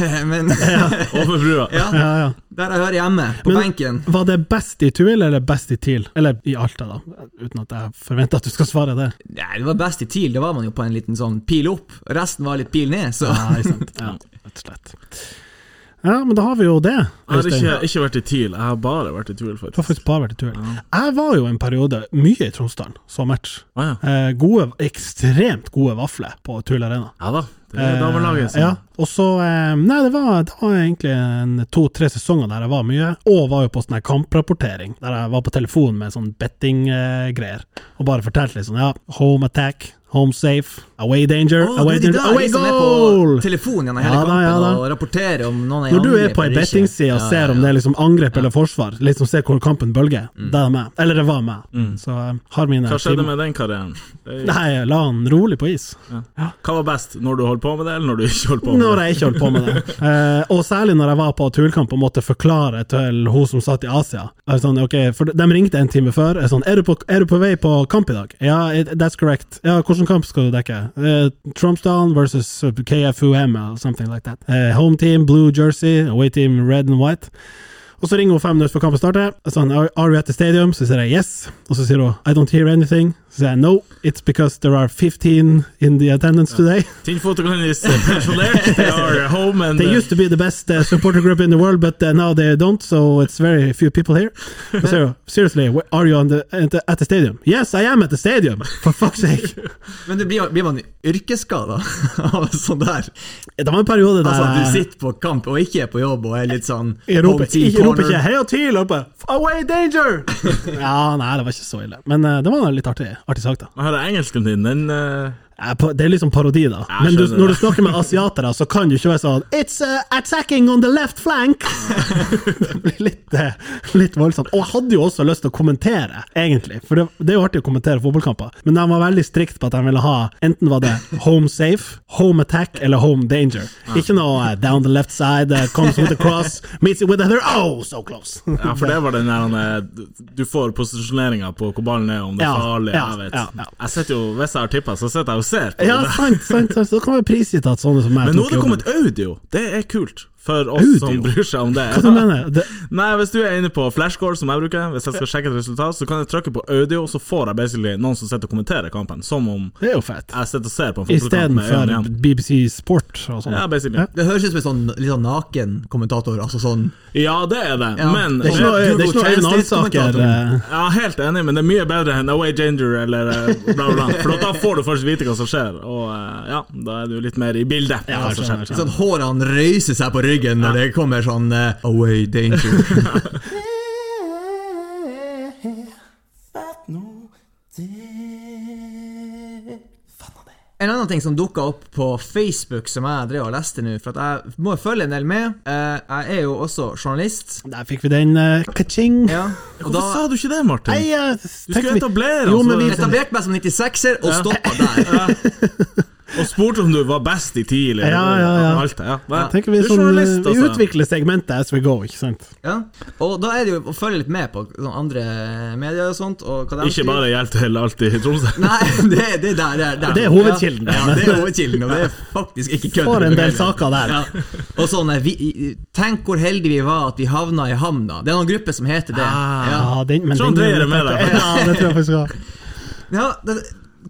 Speaker 3: Men
Speaker 1: Over brua.
Speaker 3: ja,
Speaker 2: Ja, ja.
Speaker 3: der jeg hører hjemme, på
Speaker 2: Men-
Speaker 3: benken.
Speaker 2: Var det best i Tuil eller best i TIL? Eller i Alta, da, uten at jeg forventer at du skal svare det.
Speaker 3: Nei, det var best i TIL. Da var man jo på en liten sånn pil opp. Resten var litt pil ned, så
Speaker 2: Nei, sant. Ja, rett og slett. Ja, men da har vi jo det.
Speaker 1: Jeg har
Speaker 2: Øystein.
Speaker 1: ikke, ikke vært i TIL, jeg har bare vært i TIL,
Speaker 2: Du har
Speaker 1: faktisk.
Speaker 2: faktisk bare vært i Tuil. Jeg var jo en periode mye i Tromsdalen, så match.
Speaker 1: Å ja.
Speaker 2: Eh, gode, ekstremt gode vafler på Tuil Arena.
Speaker 1: ja da, det er damelaget
Speaker 2: Eh,
Speaker 1: som
Speaker 2: ja. Og så eh, Nei, det var, det var egentlig en to-tre sesonger der jeg var mye, og var jo på sånn her kamprapportering, der jeg var på telefon med sånn betting-greier, og bare fortalte litt sånn ja, home attack, home safe, away danger,
Speaker 3: Å,
Speaker 2: away
Speaker 3: det er de
Speaker 2: danger,
Speaker 3: der
Speaker 2: away
Speaker 3: som er på
Speaker 2: goal!
Speaker 3: telefonen gjennom hele
Speaker 2: Ja da,
Speaker 3: kampen
Speaker 2: ja da.
Speaker 3: og rapporterer om noen er
Speaker 2: Når du er
Speaker 3: angrep
Speaker 2: på ei
Speaker 3: eller ikke.
Speaker 2: bettingside og
Speaker 3: Ja,
Speaker 2: ser om
Speaker 3: ja, ja. Mm.
Speaker 2: det er liksom angrep eller forsvar, liksom ser hvor kampen bølger, det er meg. Eller det var meg. Så eh, har mine
Speaker 1: Hva skjedde
Speaker 2: timer.
Speaker 1: med den karrieren? Det-
Speaker 2: Nei, jeg la han rolig på is.
Speaker 1: Hva var best, når du holdt på med det, eller når du ikke holdt på med
Speaker 2: Når
Speaker 1: det?
Speaker 2: jeg ikke holdt på med det. Eh, og særlig når jeg var på turkamp og måtte forklare til hun som satt i Asia. Jeg var Sånn, ok, for De ringte en time før. Jeg Sånn, er, du på, 'Er du på vei på kamp i dag?' Ja, it- that's correct. Ja, Hvilken kamp skal du dekke? Uh, Trumpsdown versus KFUM or something like that. Eh, home team blue jersey, away team red and white. Og så ringer hun fem minutter før kampen starter. og Sånn, are, 'Are we at the stadium?' Så sier jeg 'yes'. Og så sier hun 'I don't hear anything'. Så sier jeg 'no, it's because there are 15 in the attendance today'.
Speaker 1: Tinnfotokonen is personert, they are home and
Speaker 2: They used to be the best uh, supporter group in the world, but uh, now they don't, so it's very few people here. So, seriously, wh- are you on the, at, the, at the stadium? Yes, I am at the stadium, for fuck's sake.
Speaker 3: Men du blir, blir man yrkesskada av sånn der?
Speaker 2: Det var en periode der uh,
Speaker 3: Altså at du
Speaker 2: jeg
Speaker 3: sitter på kamp og ikke er på jobb og er litt sånn
Speaker 2: jeg roper,
Speaker 3: home team
Speaker 2: jeg roper ikke er
Speaker 3: corner.
Speaker 2: 'heia TIL', jeg roper 'away danger'! ja, nei, det var ikke så ille. Men eh, det var en litt artig, artig sak, da.
Speaker 1: Jeg hører engelsken din, den eh,
Speaker 2: Ja, pa- Det er liksom parodi, da. Men
Speaker 1: Jeg
Speaker 2: du,
Speaker 1: skjønner
Speaker 2: når du
Speaker 1: det.
Speaker 2: snakker med asiatere, så kan du ikke være sånn It's uh, attacking on the left flank! det blir litt, eh, litt voldsomt. Og jeg hadde jo også lyst til å kommentere, egentlig. For det, det er jo artig å kommentere fotballkamper. Men de var veldig strikt på at de ville ha enten var det home safe, home attack eller home danger. Ikke noe eh, down the left side, eh, comes with a cross, meets it with another Oh, so close!
Speaker 1: Ja, for det var den der eh, Du får posisjoneringa på hvor ballen er, om det
Speaker 2: Ja,
Speaker 1: er farlig,
Speaker 2: ja,
Speaker 1: jeg vet.
Speaker 2: ja, ja.
Speaker 1: Jeg sitter jo, Hvis jeg har tippa, så sitter jeg og ser. på
Speaker 2: ja,
Speaker 1: det.
Speaker 2: sant, sant, sant. Så da kan vi prisgitt at sånne som meg
Speaker 1: Men nå
Speaker 2: tok
Speaker 1: har det
Speaker 2: jobben.
Speaker 1: kommet audio! Det er kult. for oss
Speaker 2: Audio?
Speaker 1: som bryr seg om det.
Speaker 2: Hva du mener du?
Speaker 1: Nei, Hvis du er inne på flashscore, som jeg bruker, hvis jeg skal sjekke et resultat, så kan jeg trykke på audio, og så får jeg basically noen som sitter og kommenterer kampen. Som om
Speaker 2: Det er jo fett.
Speaker 1: jeg sitter og ser på en fotballkamp med øynene
Speaker 2: Istedenfor
Speaker 1: igjen.
Speaker 2: BBC Sport og sånn.
Speaker 1: Ja, basically.
Speaker 3: Det høres ut som en sånn, litt sånn naken kommentator. Altså sånn
Speaker 1: Ja, det er det,
Speaker 3: Ja,
Speaker 1: men
Speaker 2: Det er ikke noe, det er ikke noe eh,
Speaker 3: Google
Speaker 2: annet-saker.
Speaker 3: Translate-kommentator.
Speaker 1: Jeg er helt enig, men det er mye bedre enn Away Ginger eller eh, bla, bla, bla. For da får du først vite hva som skjer, og eh, ja, da er du litt mer i bildet.
Speaker 2: Ja,
Speaker 1: hva
Speaker 2: jeg
Speaker 1: som
Speaker 2: skjønner,
Speaker 1: skjer.
Speaker 2: jeg skjønner.
Speaker 3: Sånn Hårene røyser seg på ryggen når det kommer sånn eh, Away danger.
Speaker 4: Fatt nå det Fatt nå det.
Speaker 3: En annen ting som dukka opp på Facebook, som jeg drev og leste nå For at jeg må følge en del med. Eh, Jeg er jo også journalist.
Speaker 2: Der fikk vi den. eh, Ka-ching!
Speaker 3: Ja, og
Speaker 1: Hvorfor sa du ikke det, Martin?
Speaker 2: Nei, jeg
Speaker 1: du skulle
Speaker 2: tenkte vi-
Speaker 1: etablere
Speaker 2: Jo,
Speaker 1: altså.
Speaker 2: men vi
Speaker 3: Etablerte meg som 96-er og stoppa der.
Speaker 1: Og spurte om du var best i tid, eller
Speaker 2: Ja, ja, ja.
Speaker 1: og alt det. Ja. Hva-
Speaker 2: tenker vi,
Speaker 1: du er
Speaker 2: sånn,
Speaker 1: journalist,
Speaker 2: vi
Speaker 1: altså.
Speaker 2: utvikler segmentet as we go, ikke sant?
Speaker 3: Ja. Og da er det jo å følge litt med på sånn andre medier og sånt. Og hva de
Speaker 1: Ikke
Speaker 3: skriver.
Speaker 1: bare hjelp til alltid i Tromsø.
Speaker 3: Nei, det, det, er der, det, er der.
Speaker 2: Det er hovedkilden.
Speaker 3: Ja, ja, det er hovedkilden, og det er faktisk ikke kødd.
Speaker 2: Får en del saker der.
Speaker 3: Ja. Og sånn, eh, vi, i- Tenk hvor heldige vi var at vi havna i havna. Det er noen grupper som heter det. Ja.
Speaker 2: Ja, den, men
Speaker 1: Sånn,
Speaker 2: den-
Speaker 1: det er det med deg.
Speaker 2: Ja, det tror jeg faktisk også.
Speaker 3: ja, det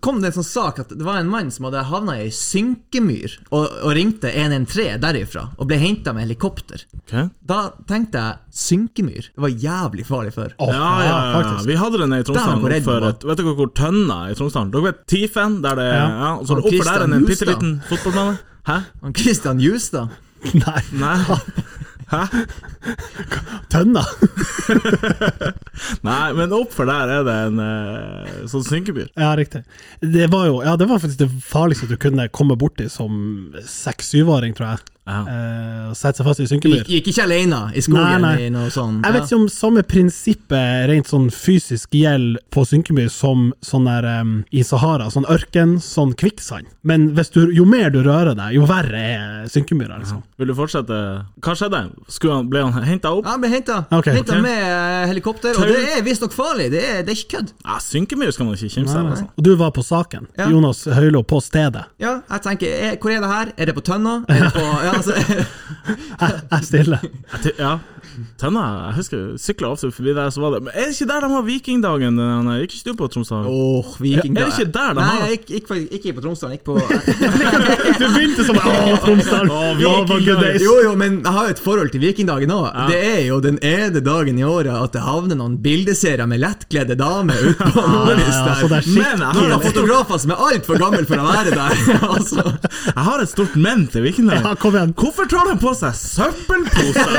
Speaker 3: kom det en sånn sak at det var en mann som hadde havna i ei synkemyr, og, og ringte 113 derifra, og ble henta med helikopter.
Speaker 1: Ok.
Speaker 3: Da tenkte jeg synkemyr. Det var jævlig farlig før.
Speaker 2: Åh,
Speaker 1: Ja, ja, ja, ja.
Speaker 2: faktisk.
Speaker 1: Vi hadde den i
Speaker 3: Der
Speaker 1: Tromsdalen.
Speaker 3: hvor redd
Speaker 1: oppfor
Speaker 3: man var.
Speaker 1: et- Vet dere hvor Tønna er i Tromsdalen? Dere vet Tifen? Der det,
Speaker 2: Ja.
Speaker 1: ja. og så
Speaker 3: Han
Speaker 1: oppover der er det en bitte
Speaker 3: Christian
Speaker 1: liten fotballbane. Hæ?
Speaker 3: Han Christian Justad
Speaker 2: Nei,
Speaker 1: Nei. Hæ?
Speaker 2: tønna!
Speaker 1: Nei, men oppfor der er det en eh, sånn synkebyr.
Speaker 2: Ja, riktig. Det var jo Ja, det var faktisk det farligste du kunne komme borti som seks-syvåring, tror jeg.
Speaker 1: Ja.
Speaker 2: Eh, Å sette seg fast i synkemyr.
Speaker 3: gikk, gikk ikke alene i skogen
Speaker 2: Nei, nei.
Speaker 3: i noe sånn
Speaker 2: Jeg vet ikke om samme prinsippet rent sånn fysisk gjelder på synkemyr som sånn der em, i Sahara, sånn ørken, sånn kvikksand. Men hvis du, jo mer du rører deg, jo verre er synkemyra, liksom.
Speaker 1: Vil du fortsette? Hva skjedde? Skulle han, ble han henta opp?
Speaker 3: Ja, han ble henta
Speaker 2: Ok,
Speaker 1: ok.
Speaker 3: med eh, helikopter, og
Speaker 1: Tau.
Speaker 3: det er visstnok farlig. Det er, det er ikke kødd.
Speaker 1: Ja, synkemyr skal man ikke kimse av. Altså.
Speaker 2: Og du var på saken.
Speaker 3: Ja.
Speaker 2: Jonas Høilo på stedet.
Speaker 3: Ja, jeg tenker, er, Hvor er det her? Er det på Tønna? Er det på, ja, altså,
Speaker 2: Jeg stiller.
Speaker 1: Jeg ty- Ja. Tønna, jeg husker sykla ofte forbi der, så var det Men er det ikke der de har vikingdagen? den her? Gikk ikke du på Tromsdalen?
Speaker 3: Åh, viking
Speaker 1: Ja, er det ikke der de
Speaker 3: Nei,
Speaker 1: har det?
Speaker 3: jeg gikk, gikk, faktisk- ikke på Tromsdalen. Gikk på
Speaker 2: Du begynte som Å, Tromsdal!
Speaker 1: Å,
Speaker 2: Ja, var good days.
Speaker 3: Jo, jo, men jeg har jo et forhold til vikingdagen òg. Det er jo den ene dagen i året at det havner noen bildeserier med lettkledde damer ute på Nordlys
Speaker 2: ja, så det er
Speaker 3: der.
Speaker 2: skikkelig-
Speaker 3: Men jeg har noen fotografer som er altfor gamle for å være der. Altså.
Speaker 1: Jeg har et stort men til vikingdagen.
Speaker 2: Ja, kom igjen.
Speaker 1: Hvorfor tar de på seg søppelposer?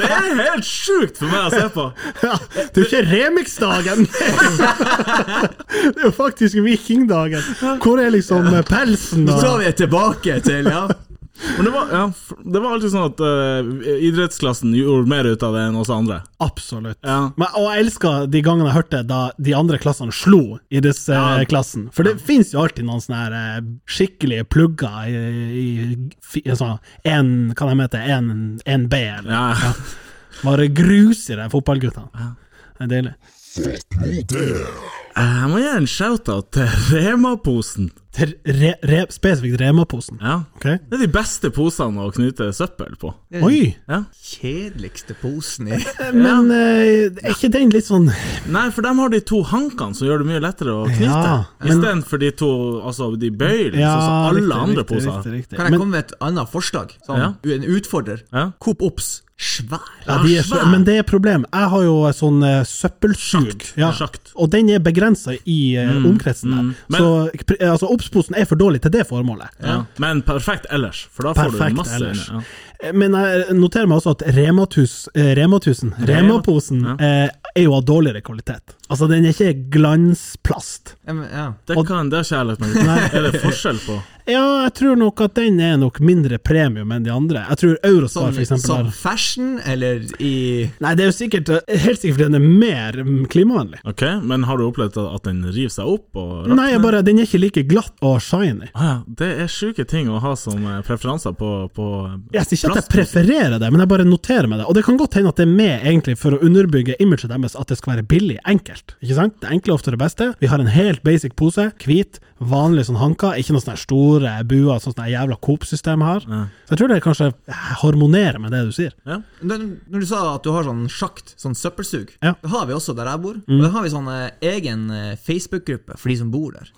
Speaker 1: Det er helt sjukt for meg å se på.
Speaker 2: Ja, det er jo ikke remix-dagen! Det er jo faktisk vikingdagen. Hvor er liksom eh, pelsen?
Speaker 3: Nå
Speaker 2: og-
Speaker 3: tror jeg vi er tilbake til ja.
Speaker 1: Men det var, ja, f- det var alltid sånn at eh, idrettsklassen gjorde mer ut av det enn oss andre.
Speaker 2: Absolutt.
Speaker 1: Ja.
Speaker 2: Men, og jeg elsker de gangene jeg hørte da de andre klassene slo i disse eh, klassen. For det finnes jo alltid noen sånne her, eh, skikkelige plugger i, i, fi- sånn, en, hva de heter, en, en B, eller
Speaker 1: Ja.
Speaker 2: Bare grus i de fotballguttene. Det er deilig.
Speaker 1: Jeg må gi en shout-out til Rema-posen.
Speaker 2: Til Re, re, spesifikt Rema-posen.
Speaker 1: Ja.
Speaker 2: Ok?
Speaker 1: Det er de beste posene å knyte søppel på.
Speaker 3: Mm.
Speaker 2: Oi!
Speaker 1: Ja.
Speaker 3: Kjedeligste posen i
Speaker 2: Men eh, er ikke den litt sånn
Speaker 1: Nei, for de har de to hankene som gjør det mye lettere å knyte.
Speaker 2: Ja,
Speaker 1: Istedenfor de to altså de bøylene,
Speaker 2: Ja,
Speaker 1: sånn som alle
Speaker 2: riktig,
Speaker 1: andre
Speaker 2: riktig,
Speaker 1: poser.
Speaker 2: Riktig, riktig.
Speaker 3: Kan jeg
Speaker 2: Men-
Speaker 3: komme med et annet forslag? Sånn, En utfordrer.
Speaker 1: Ja.
Speaker 3: Coop Ops. Svær.
Speaker 2: Ja, de er så,
Speaker 1: svær.
Speaker 2: men det er problemet. Jeg har jo sånn eh, søppelsug. Ja.
Speaker 1: Sjakt. Mm,
Speaker 2: Og den er begrensa i eh, omkretsen der.
Speaker 1: Men-
Speaker 2: så pr- eh, altså, obsposen er for dårlig til det formålet.
Speaker 1: Ja. Men perfekt ellers, for da får
Speaker 2: Perfekt
Speaker 1: du masse
Speaker 2: ellers.
Speaker 1: Ja.
Speaker 2: Eh, Men jeg noterer meg også at Rematus, eh, Rematusen, Remaposen, eh, er jo av dårligere kvalitet. Altså, den er ikke glansplast.
Speaker 3: Ja, men- ja.
Speaker 1: Det
Speaker 2: Og-
Speaker 1: kan det er ikke jeg lagt meg til. Er det forskjell på?
Speaker 2: Ja, jeg tror nok at den er nok mindre premium enn de andre. Jeg tror Eurospar,
Speaker 3: Sånn,
Speaker 2: for eksempel.
Speaker 3: som
Speaker 2: har-
Speaker 3: fashion, eller i
Speaker 2: Nei, det er jo sikkert eh, Helt sikkert fordi den er mer mm, klimavennlig.
Speaker 1: Ok, Men har du opplevd at den river seg opp? og rakner?
Speaker 2: Nei, jeg bare, den er ikke like glatt og shiny.
Speaker 1: Ah, ja. Det er sjuke ting å ha som eh, preferanser på, på
Speaker 2: Jeg sier ikke at jeg prefererer det, men jeg bare noterer meg det. Og det kan godt hende at det er med egentlig for å underbygge imaget deres at det skal være billig, enkelt. enkelt. Ikke sant? Det enkle er ofte det beste. Vi har en helt basic pose. Hvit, vanlig sånn hanka. Ikke noen sånne store buer, sånn som det jævla Coop-systemet har. Så jeg tror det kanskje harmonerer med det du sier.
Speaker 3: Når, når du sa at du har sånn sjakt, sånn søppelsug,
Speaker 2: Ja. Mm.
Speaker 3: det har vi også der jeg bor. Og det har vi sånn eh, egen eh, Facebook-gruppe for de som bor der.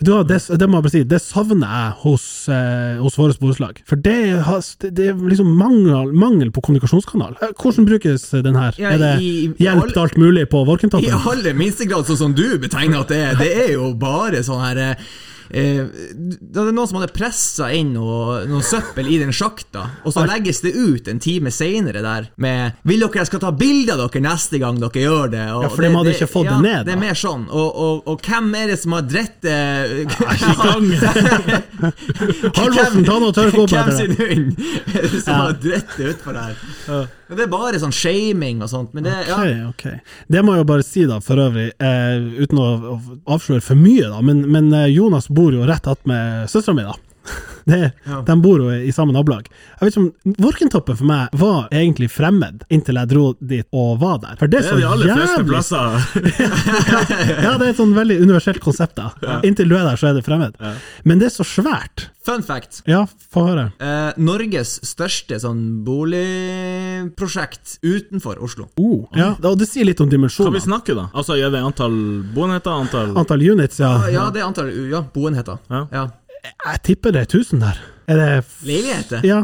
Speaker 2: Du, har- det, det må jeg bare si, det savner jeg hos, eh, hos våre borettslag. For det, har, det det er liksom mangel, mangel på kommunikasjonskanal. Eh, Hvordan brukes den her?
Speaker 3: Ja,
Speaker 2: er det
Speaker 3: i- i
Speaker 2: hjelp
Speaker 3: all-
Speaker 2: til alt mulig på Vorkentoppen?
Speaker 3: I aller minste grad sånn som du betegner at det er. Det er jo bare sånn her eh, eh, Det er noen som hadde pressa inn noe, noe søppel i den sjakta, og så legges det ut en time seinere der med 'Vil dere jeg skal ta bilde av dere neste gang dere gjør det?' Og
Speaker 2: Ja, for de hadde ikke fått det ned,
Speaker 3: Det
Speaker 2: da.
Speaker 3: er mer sånn. Og, og, og hvem er det som har dritt eh,
Speaker 2: Halvorsen, ta nå tørrkoppen
Speaker 3: Hvem
Speaker 2: etter
Speaker 3: sin
Speaker 2: deg.
Speaker 3: hund er det som har dritt det utfor der? Men Det er bare sånn shaming og sånt. Men det, ja,
Speaker 2: Ok, ok. Det må jeg jo bare si, da, for øvrig, eh, uten å å avsløre for mye, da, men, men eh, Jonas bor jo rett attmed søstera mi, da. Det,
Speaker 3: Ja.
Speaker 2: De bor jo i samme nabolag. Jeg vet ikke om Vorkentoppen for meg var egentlig fremmed inntil jeg dro dit og var der. For det,
Speaker 1: Det er de
Speaker 2: så
Speaker 1: aller fleste
Speaker 2: jævlig
Speaker 1: plasser.
Speaker 2: Ja, det er et sånn veldig universelt konsept, da. Inntil du er der, så er det fremmed. Men det er så svært.
Speaker 3: fun fact.
Speaker 2: Ja, få høre.
Speaker 3: Eh, Norges største sånn boligprosjekt utenfor Oslo.
Speaker 2: Oh, ja. Og det sier litt om
Speaker 1: Kan vi
Speaker 2: dimensjoner.
Speaker 1: snakke, da? Altså, Er det antall boenheter? Antall
Speaker 2: Antall units, ja.
Speaker 3: Ja, det er antall ja, boenheter.
Speaker 1: Ja.
Speaker 3: Ja.
Speaker 2: Jeg tipper det er 1000 der. Er det f-
Speaker 3: Leiligheter?
Speaker 2: Ja.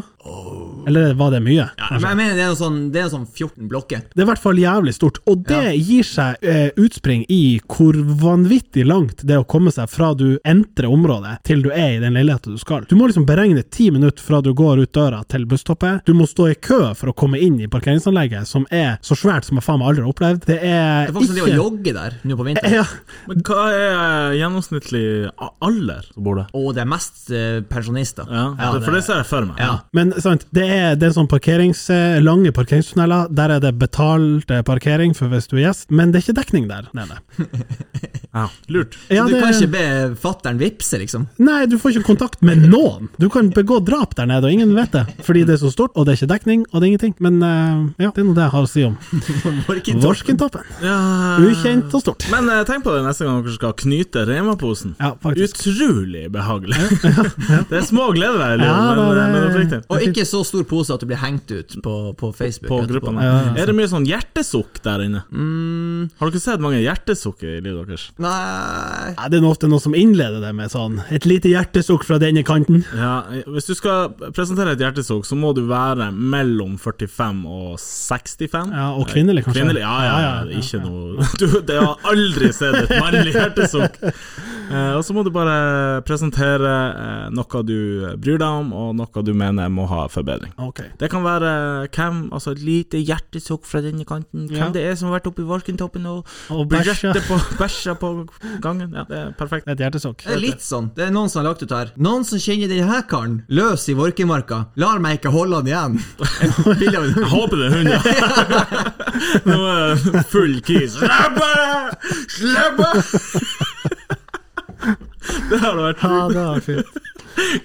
Speaker 2: Eller var det mye?
Speaker 3: Men jeg mener det er noe sånn, det er noe sånn 14 blokker.
Speaker 2: Det er i hvert fall jævlig stort, og det gir seg eh, utspring i hvor vanvittig langt det er å komme seg fra du entrer området, til du er i den leiligheten du skal. Du må liksom beregne ti minutter fra du går ut døra til busstoppet. Du må stå i kø for å komme inn i parkeringsanlegget, som er så svært som jeg faen meg aldri har opplevd. Det
Speaker 3: Det
Speaker 2: er
Speaker 3: er folk som driver og
Speaker 2: ikke
Speaker 3: jogger der nå på vinteren.
Speaker 2: ja,
Speaker 1: Men hva er eh, gjennomsnittlig a- alder som bor der?
Speaker 3: Og det er mest eh, pensjonister.
Speaker 1: Ja,
Speaker 3: Ja,
Speaker 1: for det ser jeg for meg.
Speaker 3: Ja.
Speaker 2: men sant, det er, det er sånn parkerings, eh, lange parkeringstunneler. Der er det betalt eh, parkering for hvis du er gjest, men det er ikke dekning der nede.
Speaker 1: Ja. Lurt.
Speaker 2: Ja,
Speaker 3: du
Speaker 2: det-
Speaker 3: kan ikke be fatter'n vippse, liksom.
Speaker 2: Nei, du får ikke kontakt med noen! Du kan begå drap der nede, og ingen vet det. Fordi det er så stort, og det er ikke dekning, og det er ingenting. Men eh, ja, det er nå det jeg har å si om
Speaker 3: Morgentopp.
Speaker 2: Vorskentoppen.
Speaker 1: Ja.
Speaker 2: Ukjent og stort.
Speaker 1: Men eh, tenk på det neste gang dere skal knyte Rema-posen.
Speaker 2: Ja, faktisk.
Speaker 1: Utrolig behagelig. Det er små gleder der i livet,
Speaker 2: Ja,
Speaker 1: men,
Speaker 2: da,
Speaker 1: eh,
Speaker 2: det-
Speaker 1: men oppriktig.
Speaker 3: Og ikke så stor pose at du blir hengt ut på, på Facebook.
Speaker 1: På
Speaker 3: etterpå.
Speaker 1: gruppene.
Speaker 2: Ja, ja, Mm.
Speaker 1: Er det mye sånn hjertesukk der inne? Har dere sett mange hjertesukk i livet deres?
Speaker 3: Nei
Speaker 2: Ja, det er nå ofte noe som innleder det med sånn Et lite hjertesukk fra denne kanten.
Speaker 1: Ja, Hvis du skal presentere et hjertesukk, så må du være mellom 45 og 65.
Speaker 2: Ja, og kvinnelig, kanskje.
Speaker 1: Kvinnelig, ja, ja, ja,
Speaker 2: Ja, ja,
Speaker 1: ikke noe Du det har aldri sett et mannlig hjertesukk! Eh, og så må du bare presentere eh, noe du bryr deg om, og noe du mener må ha forbedring.
Speaker 2: Ok.
Speaker 1: Det kan være hvem, altså et lite hjertesukk fra denne kanten, hvem
Speaker 2: Ja.
Speaker 1: det er som har vært oppe i Valkentoppen og,
Speaker 2: Og bæsja.
Speaker 1: bæsja. På, bæsja på gangen. Ja, det er perfekt.
Speaker 2: Et hjertesukk.
Speaker 3: Det er litt sånn. Det er noen som har lagt ut her. Noen som kjenner denne her karen, løs i Vorkemarka. Lar meg ikke holde han igjen. Et bilde av en
Speaker 1: Jeg
Speaker 3: hund.
Speaker 1: håper det er hund, ja! Nå er det full kis. Slapp av! Slapp av! Det hadde vært
Speaker 2: Ja, det er fint.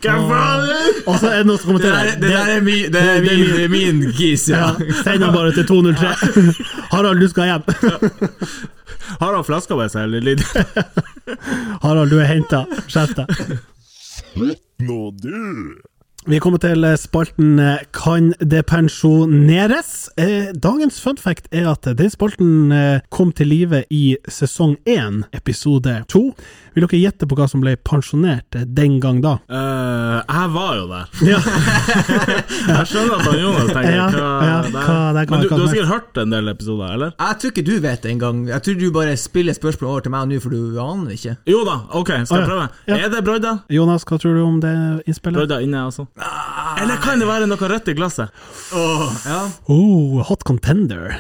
Speaker 1: Hva faen?
Speaker 2: Og så er det noen som
Speaker 3: Det der,
Speaker 2: kommenterer.
Speaker 3: det der er, mi, det er min, det er min kis, ja.
Speaker 2: ja, Send den bare til 203. Harald, du skal hjem.
Speaker 1: Har han flaska med seg, eller litt?
Speaker 2: Harald, du er henta. Skjerp deg.
Speaker 5: Nå du!
Speaker 2: Vi kommer til spalten eh, Kan det pensjoneres? Eh, Dagens fun fact er at den spalten eh, kom til live i sesong 1, episode 2. Vil dere gjette på hva som ble pensjonert eh, den gang da?
Speaker 1: Eh, jeg var jo der.
Speaker 2: Ja,
Speaker 1: Jeg skjønner at han Jonas tenker
Speaker 2: Ja, ja,
Speaker 1: det er.
Speaker 2: hva- det kan-
Speaker 1: Men du,
Speaker 2: kan-
Speaker 1: du har sikkert hørt en del episoder, eller?
Speaker 3: Jeg tror ikke du vet det engang. Jeg tror du bare spiller spørsmål over til meg nå, for du aner ikke.
Speaker 1: Jo da, ok, skal
Speaker 2: Å, ja.
Speaker 1: jeg prøve.
Speaker 2: Ja.
Speaker 1: Er det brodda?
Speaker 2: Jonas, hva tror du om det innspillet?
Speaker 1: Brodda inne, altså?
Speaker 2: Ah,
Speaker 1: Eller kan det være noe rødt i glasset?
Speaker 3: Ja.
Speaker 2: Oh, hot contender.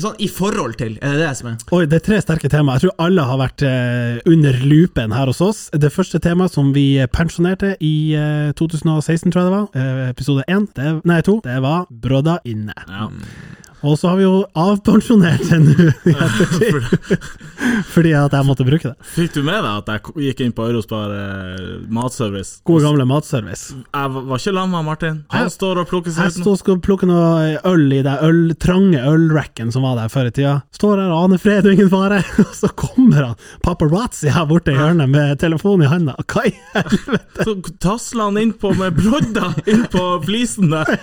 Speaker 3: Sånn i forhold til, er det det som er?
Speaker 2: Oi, det er tre sterke tema. Jeg tror alle har vært eh, under lupen her hos oss. Det første temaet som vi pensjonerte i eh, 2016, tror jeg det var, eh, episode 1, det, nei 2, det var Brodda inne.
Speaker 1: Ja.
Speaker 2: Og så har vi jo avpensjonert det nå, i ettertid. fordi at jeg måtte bruke det.
Speaker 1: Fikk du med deg at jeg k- gikk inn på Eurospar eh, matservice?
Speaker 2: Gode, gamle matservice.
Speaker 1: Jeg var- var ikke lam med Martin. Han
Speaker 2: Jeg-
Speaker 1: står og plukker
Speaker 2: Jeg
Speaker 1: seg ut
Speaker 2: stod og skulle plukke noe øl i den øl, trange ølracken som var der før i tida. Står her og aner fred og ingen fare, og så kommer han paparazzi her borte i hjørnet med telefonen i handa. Hva i helvete?
Speaker 1: Så tasla han innpå med brodda inn på flisen der.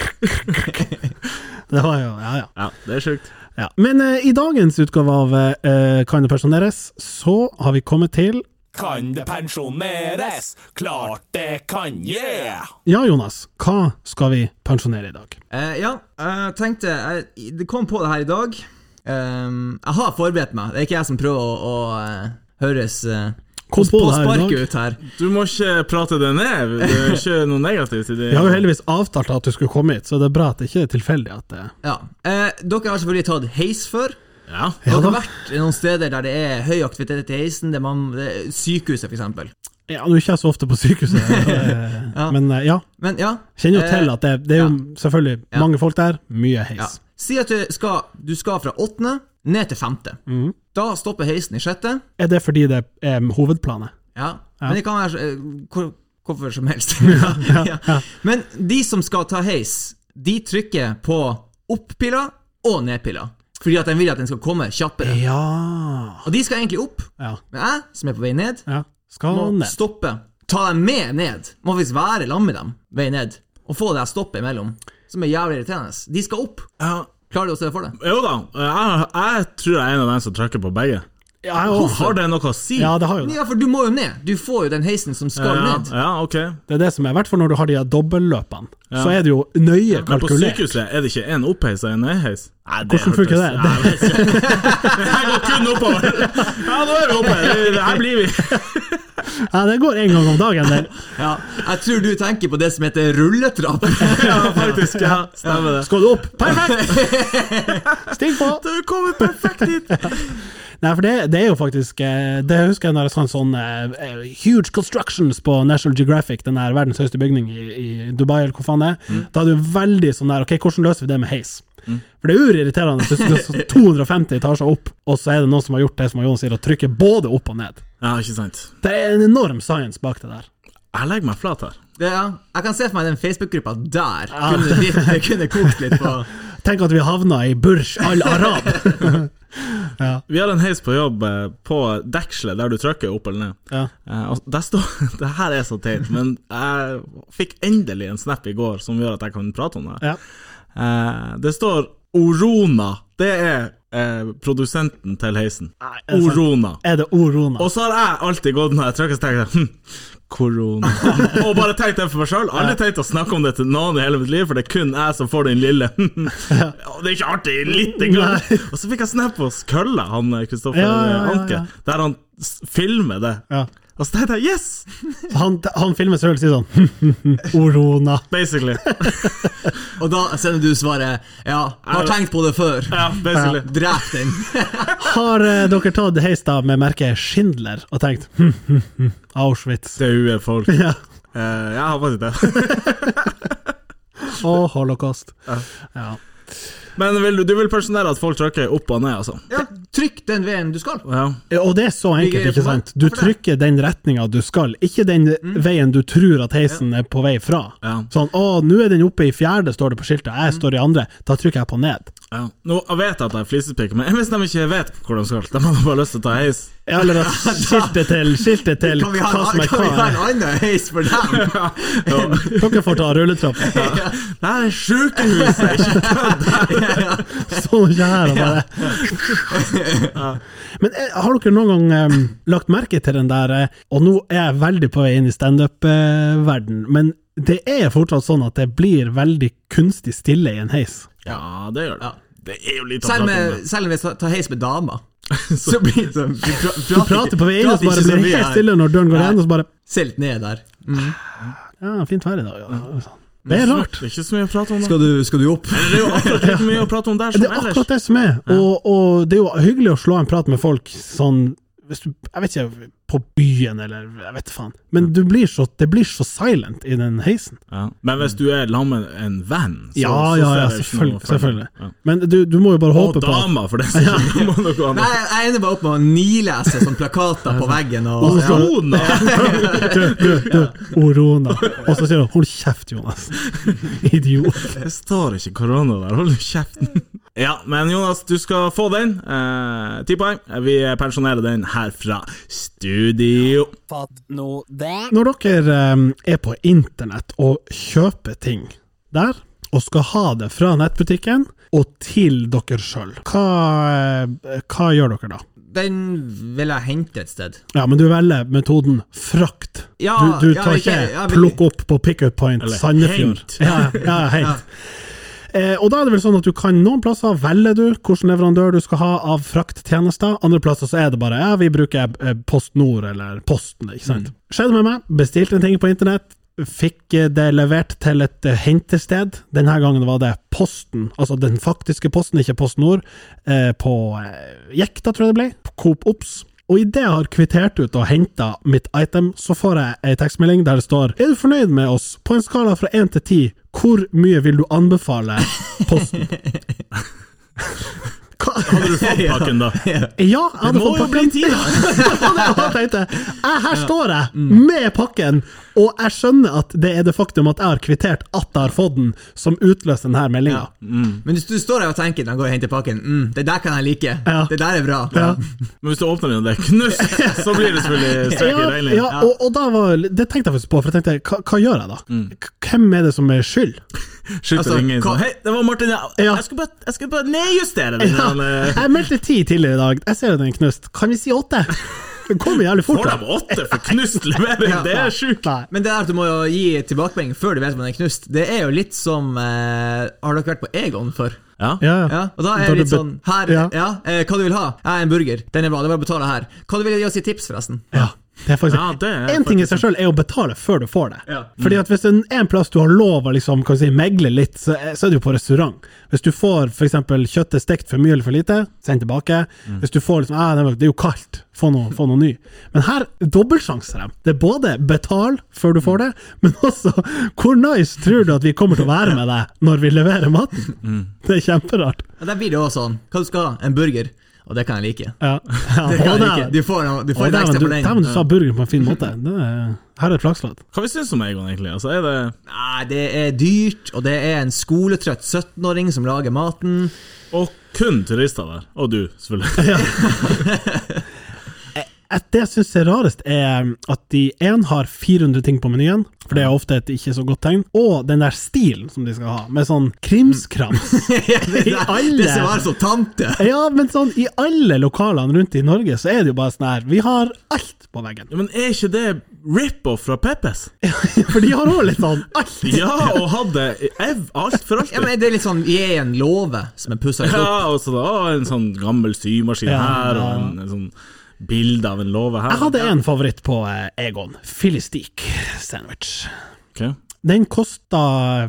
Speaker 2: Det var jo Ja, ja.
Speaker 1: Ja, det er sjukt.
Speaker 2: ja. Men eh, i dagens utgave av eh, Kan det pensjoneres, så har vi kommet til
Speaker 6: Kan det pensjoneres? Klart det kan, yeah!
Speaker 2: Ja, Jonas, hva skal vi pensjonere i dag?
Speaker 3: Eh, ja, jeg tenkte jeg, Det kom på det her i dag. Ehm, jeg har forberedt meg. Det er ikke jeg som prøver å, å eh, høres eh,
Speaker 2: Kom på det her i
Speaker 3: sparket
Speaker 2: dag.
Speaker 3: ut her.
Speaker 1: Du må ikke prate det ned. Det er ikke noe negativt i det.
Speaker 2: Vi har jo heldigvis avtalt at du skulle komme hit, så det er bra at det ikke er tilfeldig at det
Speaker 3: Ja. Eh, dere har selvfølgelig tatt heis før.
Speaker 1: Ja.
Speaker 3: Det
Speaker 2: Ja
Speaker 3: har
Speaker 2: da.
Speaker 3: vært noen steder der det er høy aktivitet i heisen. Det man, det, sykehuset, for eksempel.
Speaker 2: Ja, nå er ikke jeg så ofte på sykehuset, eh, men eh, ja.
Speaker 3: Men ja
Speaker 2: Kjenner jo
Speaker 3: eh,
Speaker 2: til at det, det er jo selvfølgelig mange folk der, mye
Speaker 3: ja.
Speaker 2: heis.
Speaker 3: Si at du skal, du skal fra åttende ned til femte. Da stopper heisen i sjette.
Speaker 2: Er det fordi det er hovedplanet?
Speaker 3: Ja. Men det kan være eh, hvor, hvorfor som helst. ja, ja. Men de som skal ta heis, de trykker på opp-pila og ned-pila. Fordi at de vil at den skal komme kjappere.
Speaker 2: Ja
Speaker 3: Og de skal egentlig opp,
Speaker 2: Ja.
Speaker 3: men jeg, som er på vei ned,
Speaker 2: ja. Skal
Speaker 3: må
Speaker 2: ned.
Speaker 3: stoppe. Ta dem med ned. Må faktisk være sammen med dem vei ned. Og få det her stoppet imellom. Som er jævlig irriterende. De skal opp.
Speaker 1: Ja.
Speaker 3: Klarer du å se for deg?
Speaker 1: Jo da, jeg, jeg tror jeg er en av dem som trykker på begge.
Speaker 2: Ja, jeg også.
Speaker 1: Har det noe å si?
Speaker 2: ja, det har jo det.
Speaker 3: Ja, for du må jo ned. Du får jo den heisen som skal
Speaker 1: ja,
Speaker 3: ned.
Speaker 1: ja, ok.
Speaker 2: Det er det som er, i hvert fall når du har de her dobbelløpene. Så er det jo nøye
Speaker 1: Men på
Speaker 2: kalkulert.
Speaker 1: sykehuset er det ikke én oppheis og én nedheis? Nei, det
Speaker 2: Hvordan funker
Speaker 1: hørtes-
Speaker 2: det?
Speaker 1: Nei, jeg vet ikke. Det her går kun oppover. Ja, nå er vi oppe. Det- Det her blir vi.
Speaker 2: Ja, det går en gang om dagen, det.
Speaker 3: Ja, jeg tror du tenker på det som heter rulletrapp.
Speaker 1: Ja, faktisk. Ja, stemmer det.
Speaker 2: Skal du opp? Perfekt! Stig på!
Speaker 1: Du kommer perfekt hit.
Speaker 2: Nei, for det, det er jo faktisk eh, Det husker jeg når jeg så en sånn eh, eh, Huge Constructions på National Geographic, den der verdens høyeste bygning i, i Dubai, eller hvor faen det er.
Speaker 1: Mm.
Speaker 2: Da hadde du veldig sånn der Ok, hvordan løser vi det med heis? For det er urirriterende hvis du skal 250 etasjer opp, og så er det noen som har gjort det som Jon sier, og trykker både opp og ned.
Speaker 1: Ja, ikke sant.
Speaker 2: Det er en enorm science bak det der.
Speaker 1: Jeg legger meg flat her.
Speaker 3: Det, ja. Jeg kan se for meg den Facebook-gruppa der. Kunne, de, det kunne kokt litt på
Speaker 2: Tenk at vi havna i Burj al Arab!
Speaker 1: Vi har en heis på jobb eh, på dekselet der du trykker opp eller ned.
Speaker 2: Ja.
Speaker 1: Eh, og der står, det her er så teit, men jeg fikk endelig en snap i går som gjør at jeg kan prate om det. her.
Speaker 2: Ja.
Speaker 1: Eh, det står Orona. Det er eh, produsenten til heisen.
Speaker 2: er det sant?
Speaker 3: altså.
Speaker 1: Orona.
Speaker 2: Er det Orona?
Speaker 1: Og så har jeg alltid gått når jeg trykker, så tenker jeg hm, korona. Og bare tenkt det for meg sjøl. Aldri tenkt å snakke om det til noen i hele mitt liv, for det er kun jeg som får den lille Og Det er ikke artig litt engang. Og så fikk jeg snap hos Kølla, han eh, Kristoffer
Speaker 2: Ja, ja, ja,
Speaker 1: Anke,
Speaker 2: ja.
Speaker 1: der han s- filmer det.
Speaker 2: Ja.
Speaker 1: Og så tenkte jeg yes!
Speaker 2: Han, han filmer seg selv og sier sånn Orona.
Speaker 1: Basically.
Speaker 3: Og da sender du svaret Ja, har tenkt på det før.
Speaker 1: Ja, basically.
Speaker 3: Drep den.
Speaker 2: Har eh, dere tatt heis da med merket Schindler og tenkt hm, hm, hm, Auschwitz?
Speaker 1: Daue folk.
Speaker 2: Ja.
Speaker 1: Eh, jeg har faktisk det.
Speaker 2: Og holocaust. Ja.
Speaker 1: Men vil, du- du vil pensjonere at folk trykker opp og ned, altså?
Speaker 3: Ja, trykk den veien du skal.
Speaker 1: Ja.
Speaker 2: Og det er så enkelt,
Speaker 3: Ligger
Speaker 2: ikke
Speaker 3: på meg.
Speaker 2: sant? Du
Speaker 3: Hvorfor det? Mm.
Speaker 2: trykker den retninga du skal, ikke den veien du tror at heisen er på vei fra.
Speaker 1: Ja.
Speaker 2: Sånn 'Å, nå er den oppe i fjerde', står det på skiltet, jeg
Speaker 3: Mm.
Speaker 2: står i andre. Da trykker jeg på ned.
Speaker 1: Ja. Nå jeg vet jeg at jeg er flisespiker, men hvis de ikke vet hvor de skal, de har bare lyst til å ta heis.
Speaker 2: Ja, Eller at skiltet til Skiltet til
Speaker 3: Kan vi ha,
Speaker 2: hva som
Speaker 3: en-
Speaker 2: er
Speaker 3: kan vi ha
Speaker 2: hva.
Speaker 3: en annen heis for dem?
Speaker 2: Dere får ta rulletrappa.
Speaker 1: Det her er sjukehuset, ikke kødd!
Speaker 2: Sånn ikke her og bare Men eh, har dere noen gang eh, lagt merke til den der eh, Og nå er jeg veldig på vei inn i standup-verden, men det er fortsatt sånn at det blir veldig kunstig stille i en heis.
Speaker 1: Ja, det gjør det. Det er jo litt å
Speaker 3: Selv,
Speaker 1: prate om
Speaker 3: med,
Speaker 1: det.
Speaker 3: selv om vi tar heis med damer. Så blir det sånn Vi pra-
Speaker 2: Du prater på vei inn, og så bare
Speaker 3: prater ikke så
Speaker 2: blir det
Speaker 3: mye
Speaker 2: helt
Speaker 3: her.
Speaker 2: stille når døren går
Speaker 3: Nei.
Speaker 2: igjen, og så bare
Speaker 3: Se litt ned der.
Speaker 2: Ja, fint vær i dag. Ja. sånn. Det er rart.
Speaker 1: Det er ikke så mye å prate om det.
Speaker 3: Skal du, skal du opp?
Speaker 1: Det er jo akkurat like mye å prate om der
Speaker 2: Det
Speaker 1: som
Speaker 2: er
Speaker 1: ellers.
Speaker 2: akkurat det som er, og, og det er jo hyggelig å slå en prat med folk sånn hvis du, Jeg vet ikke, på byen, eller jeg vet faen. Men du blir så, det blir så silent i den heisen.
Speaker 1: Ja. Men hvis du er sammen med en venn, så,
Speaker 2: Ja,
Speaker 1: så
Speaker 2: ja, ja,
Speaker 1: ser jeg ikke noe
Speaker 2: selvfølgelig.
Speaker 1: for meg.
Speaker 2: selvfølgelig.
Speaker 1: Ja.
Speaker 2: Men du, du må jo bare
Speaker 1: Og
Speaker 2: håpe på at
Speaker 1: dama, for det er sikkert må noe
Speaker 3: Nei,
Speaker 1: annet.
Speaker 3: jeg ender bare opp med å nilese sånn plakater på veggen. Og,
Speaker 2: Og så-
Speaker 3: ja.
Speaker 1: Ona!
Speaker 2: Du, du, du, Orona. Og så sier hun 'hold kjeft, Jonas'. Idiot.
Speaker 1: Det står ikke korona der, hold nå kjeften. Ja, men Jonas, du skal få den. Eh, Ti poeng. Vi pensjonerer den her fra studio.
Speaker 6: Fatt nå det.
Speaker 2: Når dere eh, er på internett og kjøper ting der, og skal ha det fra nettbutikken og til dere sjøl, hva, eh, hva gjør dere da?
Speaker 3: Den vil jeg hente et sted.
Speaker 2: Ja, men du velger metoden frakt.
Speaker 3: Ja,
Speaker 2: du, du
Speaker 3: ja,
Speaker 2: tar
Speaker 3: ikke-
Speaker 2: ikke
Speaker 3: ja, men-
Speaker 2: plukk opp på pickup point
Speaker 1: Eller
Speaker 2: Sandefjord.
Speaker 1: hent.
Speaker 2: Ja, ja, hent. Eh, og da er det vel sånn at du kan noen plasser velger du hvilken leverandør du skal ha av frakttjenester, andre plasser så er det bare ja, vi bruker eh, Post Nord eller Posten, ikke
Speaker 1: Mm.
Speaker 2: sant. Skjedde med meg, bestilte en ting på internett, fikk eh, det levert til et eh, hentested. Denne gangen var det Posten, altså den faktiske Posten, ikke Post Nord, eh, på eh, Jekta, tror jeg det ble, på Coop Ops. Og idet jeg har kvittert ut og henta mitt item, så får jeg ei tekstmelding der det står Er du fornøyd med oss? På en skala fra 1 til 10, hvor mye vil du anbefale posten? Hva?
Speaker 1: Hadde du fått pakken, da?
Speaker 2: Ja, jeg hadde
Speaker 1: Det må
Speaker 2: fått
Speaker 1: jo
Speaker 2: pakken.
Speaker 1: bli 10, da!
Speaker 2: Ja, det var det jeg tenkte. Jeg, her står
Speaker 1: Mm.
Speaker 2: jeg med pakken, og jeg skjønner at det er det faktum at jeg har kvittert at jeg har fått den, som utløser denne meldinga.
Speaker 3: Men du, du står her og tenker når jeg går og henter pakken mm, Det der kan jeg like.
Speaker 2: Ja.
Speaker 3: Det der er bra.
Speaker 1: Men hvis du åpner den og det er knust, så blir det selvfølgelig strek i
Speaker 2: Ja, ja,
Speaker 1: regningen.
Speaker 2: og, og da var, det tenkte jeg faktisk på, for jeg tenkte hva, hva gjør jeg da?
Speaker 1: Mm.
Speaker 2: K- Hvem er det som er skyld?
Speaker 1: Skyld
Speaker 3: Altså,
Speaker 1: til ingen.
Speaker 3: hva-
Speaker 1: sånn, Hei, det var Martin, ja.
Speaker 2: Ja.
Speaker 1: Jeg skulle bare, jeg skulle bare nedjustere den.
Speaker 2: Ja,
Speaker 1: men, eh,
Speaker 2: jeg meldte ti tidligere i dag. Jeg ser jo den knust. Kan vi si åtte? Den kommer jævlig fort.
Speaker 1: Får
Speaker 2: da.
Speaker 1: de åtte for knust levering? Det er sjukt!
Speaker 2: Nei.
Speaker 3: Men det der at du må jo gi tilbakemelding før du vet om den er knust, det er jo litt som eh, Har dere vært på Egon før?
Speaker 1: Ja.
Speaker 2: Ja.
Speaker 3: Ja, og da er det
Speaker 2: du
Speaker 3: litt
Speaker 2: be-
Speaker 3: sånn Her, ja,
Speaker 2: Ja.
Speaker 3: eh, hva du vil ha? Jeg er en burger. Den er bra, det er bare å betale her. Hva du vil gi oss i tips, forresten?
Speaker 2: Ja, det er faktisk
Speaker 1: Ja, det er
Speaker 2: En ting i seg sjøl er å betale før du får det.
Speaker 3: Ja.
Speaker 2: Fordi at Hvis det er en plass du har lov å liksom, kan vi si, megle litt, så er, så er det jo på restaurant. Hvis du får f.eks. kjøttet stekt for mye eller for lite, send tilbake. Hvis du får liksom, ah, det er jo- det er jo kaldt, få noe, få noe ny. Men her dobbeltsjanser de. Det er både betal før du får det, men også hvor nice tror du at vi kommer til å være med deg når vi leverer maten? Det er kjemperart.
Speaker 3: Ja, der blir det også sånn. Hva du skal ha? En burger. Og det kan jeg like.
Speaker 2: Ja. Ja,
Speaker 3: Det kan
Speaker 2: og
Speaker 3: jeg like. Du får, noe- du
Speaker 2: og
Speaker 3: får en
Speaker 2: dæven,
Speaker 3: ekstra
Speaker 2: du,
Speaker 3: for den.
Speaker 2: dæven, du sa burgeren på en fin måte. Det er, her er et flakslodd.
Speaker 1: Hva vi syns om Egon, egentlig? Altså, er det
Speaker 3: Nei, det er dyrt, og det er en skoletrøtt 17-åring som lager maten.
Speaker 1: Og kun turister der. Og du, selvfølgelig.
Speaker 2: Et det jeg syns er rarest, er at de én har 400 ting på menyen, for det er ofte et ikke så godt tegn, og den der stilen som de skal ha, med sånn krimskrams.
Speaker 3: det,
Speaker 2: I alle.
Speaker 3: det som er så tante.
Speaker 2: Ja, men sånn i alle lokalene rundt i Norge, så er det jo bare sånn her, vi har alt på veggen.
Speaker 1: Ja, men er ikke det rip-off fra Peppes?
Speaker 2: For de har òg litt sånn alt.
Speaker 1: Ja, og hadde ev alt for
Speaker 3: Ja, men
Speaker 1: alltid.
Speaker 3: Det er litt sånn gi en låve som er pussa litt opp.
Speaker 1: Ja, og så da å, en sånn gammel symaskin
Speaker 2: Ja,
Speaker 1: her,
Speaker 2: ja.
Speaker 1: og en, en sånn bilde av en låve her.
Speaker 2: Jeg hadde en favoritt på eh, Egon. Filistik sandwich.
Speaker 1: Ok.
Speaker 2: Den kosta